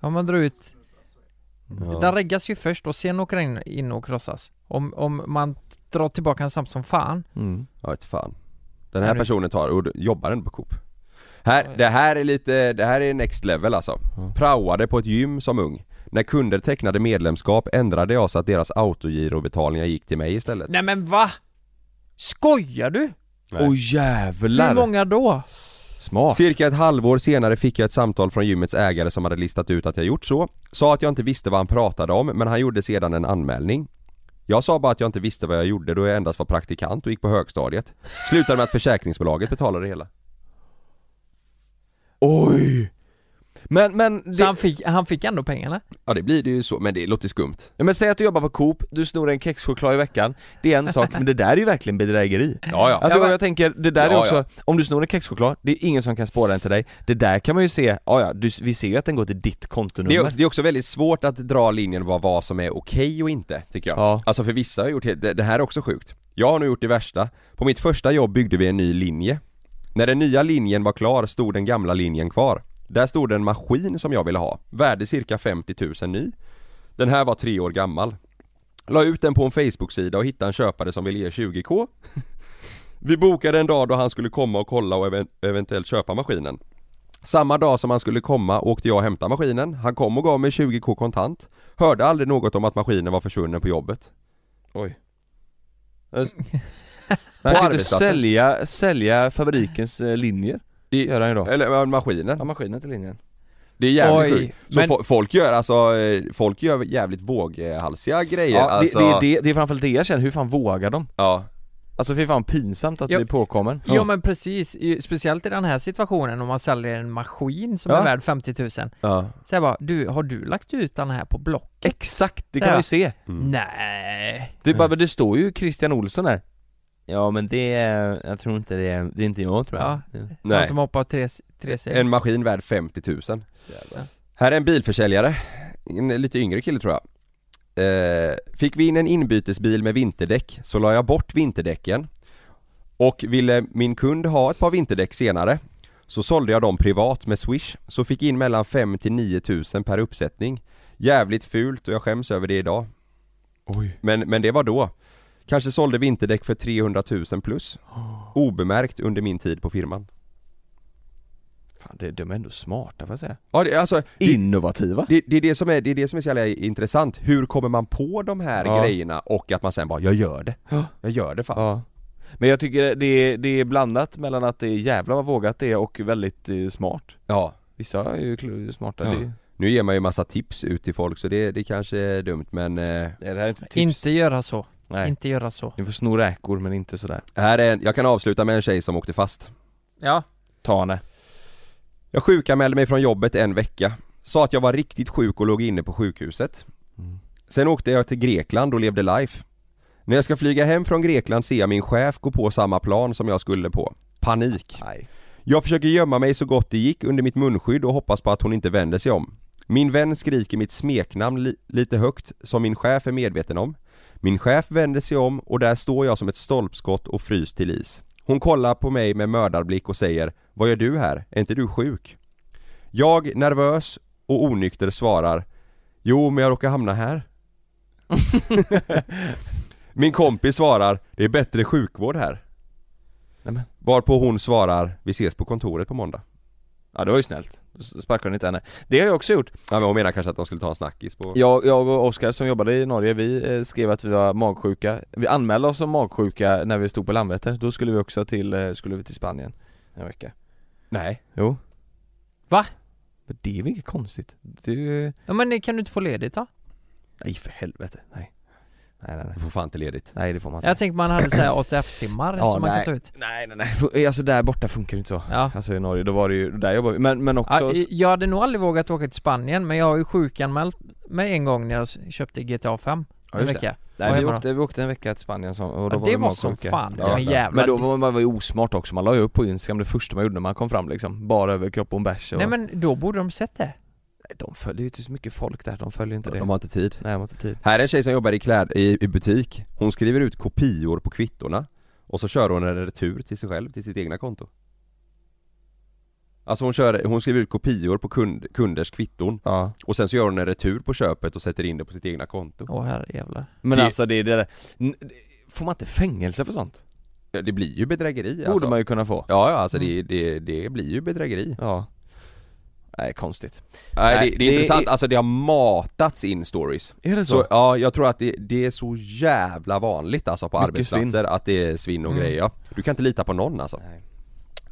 Speaker 4: Ja man drar ut,
Speaker 2: Ja.
Speaker 4: den reggas ju först och sen åker den in och krossas. Om, om man drar tillbaka den snabbt som fan.
Speaker 3: mm.
Speaker 2: Ja vet fan Den
Speaker 4: Ja,
Speaker 2: här
Speaker 4: det-
Speaker 2: personen tar och jobbar ändå på Coop här, Det här är lite, det här är next level alltså
Speaker 3: Ja.
Speaker 2: Praoade på ett gym som ung När kunder tecknade medlemskap ändrade jag så att deras autogirobetalningar gick till mig istället
Speaker 4: Nej men va? Skojar du?
Speaker 2: Nej.
Speaker 4: Hur
Speaker 3: jävlar!
Speaker 4: många då?
Speaker 3: Smart!
Speaker 2: Cirka ett halvår senare fick jag ett samtal från gymmets ägare som hade listat ut att jag gjort så Sa att jag inte visste vad han pratade om men han gjorde sedan en anmälning jag sa bara att jag inte visste vad jag gjorde då jag endast var praktikant och gick på högstadiet Slutade med att försäkringsbolaget betalade det hela
Speaker 3: Oj! Men, men,
Speaker 4: Så
Speaker 3: det,
Speaker 4: han fick, han fick ändå pengarna?
Speaker 2: Ja det blir det ju så, men det låter skumt.
Speaker 3: ja, men säg att du jobbar på Coop, du snor en kexchoklad i veckan, det är en sak, men det där är ju verkligen bedrägeri.
Speaker 2: Ja ja.
Speaker 3: Alltså
Speaker 4: Ja, men-
Speaker 3: jag tänker, det där är
Speaker 2: Ja,
Speaker 3: också,
Speaker 2: ja.
Speaker 3: om du snor en kexchoklad, det är ingen som kan spåra den till dig. Det där kan man ju se, ja ja, du, vi ser ju att den går till ditt
Speaker 2: Det
Speaker 3: kontonummer.
Speaker 2: är, det är också väldigt svårt att dra linjen vad, vad som är okej och inte, tycker jag.
Speaker 3: Ja.
Speaker 2: Alltså för vissa har gjort helt, det, det här är också sjukt. Jag har nog gjort det värsta. På mitt första jobb byggde vi en ny linje. När den nya linjen var klar stod den gamla linjen kvar. Där stod det en maskin som jag ville ha, värde cirka 50 000 ny. Den här var tre år gammal. La ut den på en Facebook-sida och hittade en köpare som ville ge 20k. *laughs* Vi bokade en dag då han skulle komma och kolla och even- eventuellt köpa maskinen. Samma dag som han skulle komma åkte jag och hämtade maskinen. Han kom och gav mig 20k kontant. Hörde aldrig något om att maskinen var försvunnen på jobbet.
Speaker 3: Oj.
Speaker 2: på
Speaker 3: Man kan inte
Speaker 2: arbetsplatsen.
Speaker 3: sälja, sälja fabrikens eh, linjer. Det Eh, gör han ju då.
Speaker 2: Eller ja, maskinen.
Speaker 3: Ja, maskinen till linjen.
Speaker 2: Det är jävligt
Speaker 4: Oj,
Speaker 2: sjukt. Så
Speaker 4: men-
Speaker 2: fo- folk gör alltså, eh, folk gör jävligt våghalsiga grejer
Speaker 3: Ja,
Speaker 2: alltså.
Speaker 3: det, det, är det, det är framförallt det jag känner, hur fan vågar de?
Speaker 2: Ja.
Speaker 3: Alltså fy fan pinsamt att
Speaker 4: Ja.
Speaker 3: bli påkommen.
Speaker 4: Ja. Jo men precis, I- speciellt i den här situationen om man säljer en maskin som
Speaker 3: Ja.
Speaker 4: är värd 50 000
Speaker 2: ja.
Speaker 4: Säg bara, du, har du lagt ut den här på Blocket?
Speaker 3: Exakt, det kan
Speaker 4: Ja.
Speaker 3: man ju se.
Speaker 2: Mm.
Speaker 4: Nej.
Speaker 3: Det, är bara, det står ju Christian Olsson här. Ja men det, är- jag tror inte det, är- det är inte jag tror jag.
Speaker 4: Han
Speaker 2: Nej.
Speaker 1: Alltså,
Speaker 4: som hoppar Alltså, tre, tre steg.
Speaker 2: En maskin värd 50 000. Här är en bilförsäljare, en lite yngre kille tror jag. Eh, fick vi in en inbytesbil med vinterdäck så la jag bort vinterdäcken och ville min kund ha ett par vinterdäck senare så sålde jag dem privat med swish så fick in mellan 5 till 9 000 per uppsättning. Jävligt fult och jag skäms över det idag.
Speaker 3: Oj.
Speaker 2: Men, men det var då. Kanske sålde vinterdäck för 300 000 plus. Obemärkt under min tid på firman.
Speaker 3: Fan, det, de är ändå smarta får jag säga.
Speaker 2: Ja, det, alltså, det,
Speaker 3: Innovativa.
Speaker 2: Det, det, är det, som är, det är det som är så jävla intressant, hur kommer man på de här
Speaker 3: Ja.
Speaker 2: grejerna och att man sen bara 'Jag gör det'
Speaker 3: Ja.
Speaker 2: Jag gör det fan
Speaker 3: Ja. Men jag tycker det är, det är blandat mellan att det är jävla vad vågat det är och väldigt eh, smart.
Speaker 2: Ja,
Speaker 3: Vissa är ju kl- smarta.
Speaker 2: Ja.
Speaker 3: Det,
Speaker 2: nu ger man ju massa tips ut till folk så det, det kanske är dumt men eh,
Speaker 3: Nej, det här är inte tips.
Speaker 4: Inte göra så,
Speaker 3: Nej.
Speaker 4: inte göra så.
Speaker 3: Ni får sno räkor men inte sådär.
Speaker 2: här är en, jag kan avsluta med en tjej som åkte fast
Speaker 4: Ja.
Speaker 3: Ta henne.
Speaker 2: Jag sjukanmälde mig från jobbet en vecka Sa att jag var riktigt sjuk och låg inne på sjukhuset
Speaker 3: Mm.
Speaker 2: Sen åkte jag till Grekland och levde life När jag ska flyga hem från Grekland ser jag min chef gå på samma plan som jag skulle på Panik
Speaker 3: Nej.
Speaker 2: Jag försöker gömma mig så gott det gick under mitt munskydd och hoppas på att hon inte vänder sig om. Min vän skriker mitt smeknamn li- lite högt, som min chef är medveten om. Min chef vänder sig om och där står jag som ett stolpskott och frys till is. Hon kollar på mig med mördarblick och säger Vad gör du här? Är inte du sjuk? Jag, nervös och onykter svarar Jo, men jag råkar hamna här. *laughs* Min kompis svarar Det är bättre sjukvård här.
Speaker 3: Nej, men.
Speaker 2: Varpå hon svarar Vi ses på kontoret på måndag.
Speaker 3: Ja det var ju snällt. Då s- sparkar hon inte henne. Det har jag också gjort.
Speaker 2: Ja men hon menar kanske att de skulle ta en snackis på...
Speaker 3: Jag, jag och Oskar som jobbade i Norge, vi eh, skrev att vi var magsjuka. Vi anmälde oss som magsjuka när vi stod på Landvetter. Då skulle vi också till, eh, skulle vi till Spanien en vecka.
Speaker 2: Nej.
Speaker 3: Jo.
Speaker 4: Va?
Speaker 3: Men det är väl inget konstigt? Du...
Speaker 4: ja men det kan du inte få ledigt då?
Speaker 3: Nej för helvete. Nej. Nej nej nej.
Speaker 2: Du får fan inte ledigt.
Speaker 3: Nej det får man inte.
Speaker 4: Jag tänker man hade såhär ATF-timmar
Speaker 3: Ja,
Speaker 4: som man kan
Speaker 3: nej.
Speaker 4: ta ut.
Speaker 3: Nej nej nej. Fu- Alltså där borta funkar det inte så.
Speaker 4: Ja.
Speaker 3: Alltså i Norge, då var det ju, där jobbar vi. Men, men också...
Speaker 4: Ja, jag hade nog aldrig vågat åka till Spanien men jag har ju sjukanmält mig en gång när jag s- köpte GTA 5
Speaker 3: Ja,
Speaker 4: en
Speaker 3: just det.
Speaker 4: vecka. Vad
Speaker 3: Nej, vi,
Speaker 4: hemma då?
Speaker 3: åkte, vi åkte en vecka till Spanien som, och då
Speaker 4: Ja,
Speaker 3: var
Speaker 4: det
Speaker 3: vi
Speaker 4: var som
Speaker 3: magsjuka.
Speaker 4: fan,
Speaker 2: Ja,
Speaker 4: men jävla
Speaker 3: Men då var man var ju osmart också, man la ju upp på Instagram det första man gjorde när man kom fram liksom, bara över kropp och en bärs och...
Speaker 4: Nej men då borde de sett det.
Speaker 3: Nej, de följer, det är ju så mycket folk där, de följer inte det.
Speaker 2: De har inte tid.
Speaker 3: Nej, de har inte tid.
Speaker 2: Här är en tjej som jobbar i, kläd, i, i butik. Hon skriver ut kopior på kvittorna. Och så kör hon en retur till sig själv, till sitt egna konto. Alltså hon, kör, hon skriver ut kopior på kund, kunders kvitton.
Speaker 3: Ja.
Speaker 2: Och sen så gör hon en retur på köpet och sätter in det på sitt egna konto.
Speaker 4: Åh herrejävlar.
Speaker 3: Men
Speaker 2: Det-
Speaker 3: alltså det är det där, N- Får man inte fängelse för sånt?
Speaker 2: Ja, Det blir ju bedrägeri
Speaker 3: Det borde
Speaker 2: alltså.
Speaker 3: man ju Mm. kunna få.
Speaker 2: Ja, ja alltså det, det, det blir ju bedrägeri.
Speaker 3: Ja. Nej, konstigt.
Speaker 2: Nej, det,
Speaker 3: Nej,
Speaker 2: det är
Speaker 3: det
Speaker 2: intressant,
Speaker 3: är-
Speaker 2: alltså det har matats in stories.
Speaker 3: Är det
Speaker 2: Så, ja, jag tror att det, det är så jävla vanligt alltså på
Speaker 3: Mycket
Speaker 2: arbetsplatser att det är svinn och
Speaker 4: Mm.
Speaker 2: grejer ja. Du kan inte lita på någon alltså.
Speaker 3: Nej.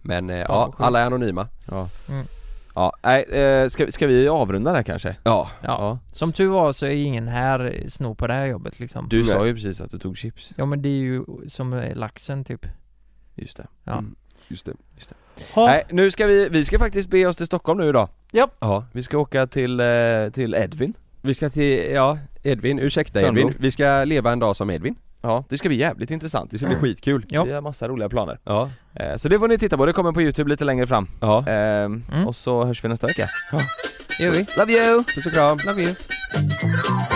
Speaker 2: Men eh, ja,
Speaker 4: vad sjukt.
Speaker 2: alla är anonyma.
Speaker 3: Ja.
Speaker 4: Mm.
Speaker 3: Ja, nej, eh, ska, ska vi avrunda där kanske?
Speaker 2: Ja,
Speaker 4: Ja. Som tur var så är ingen här snor på det här jobbet liksom.
Speaker 3: Du sa
Speaker 2: Nej.
Speaker 3: ju precis att du tog chips.
Speaker 4: Ja men det är ju som eh, laxen typ.
Speaker 3: Just det.
Speaker 4: Ja.
Speaker 2: just det.
Speaker 4: Ha.
Speaker 3: Nej, nu ska vi, vi ska faktiskt be oss till Stockholm nu idag.
Speaker 4: Japp.
Speaker 2: Ja.
Speaker 3: Vi ska åka till, eh, till Edvin
Speaker 2: Vi ska till, ja, Edvin, ursäkta
Speaker 3: Törnblom.
Speaker 2: Edvin, vi ska leva en dag som Edvin
Speaker 3: Ja, det ska bli jävligt intressant, det
Speaker 2: Det
Speaker 3: ska
Speaker 2: blir
Speaker 3: bli skit
Speaker 2: skitkul
Speaker 4: Ja.
Speaker 3: Vi har massa roliga planer
Speaker 2: Ja,
Speaker 3: eh, Så det får ni titta på, det kommer på youtube lite längre fram
Speaker 2: ja,
Speaker 3: eh, Och så hörs vi nästa vecka
Speaker 4: Gör vi?
Speaker 3: Love you!
Speaker 2: puss och kram
Speaker 4: Love you.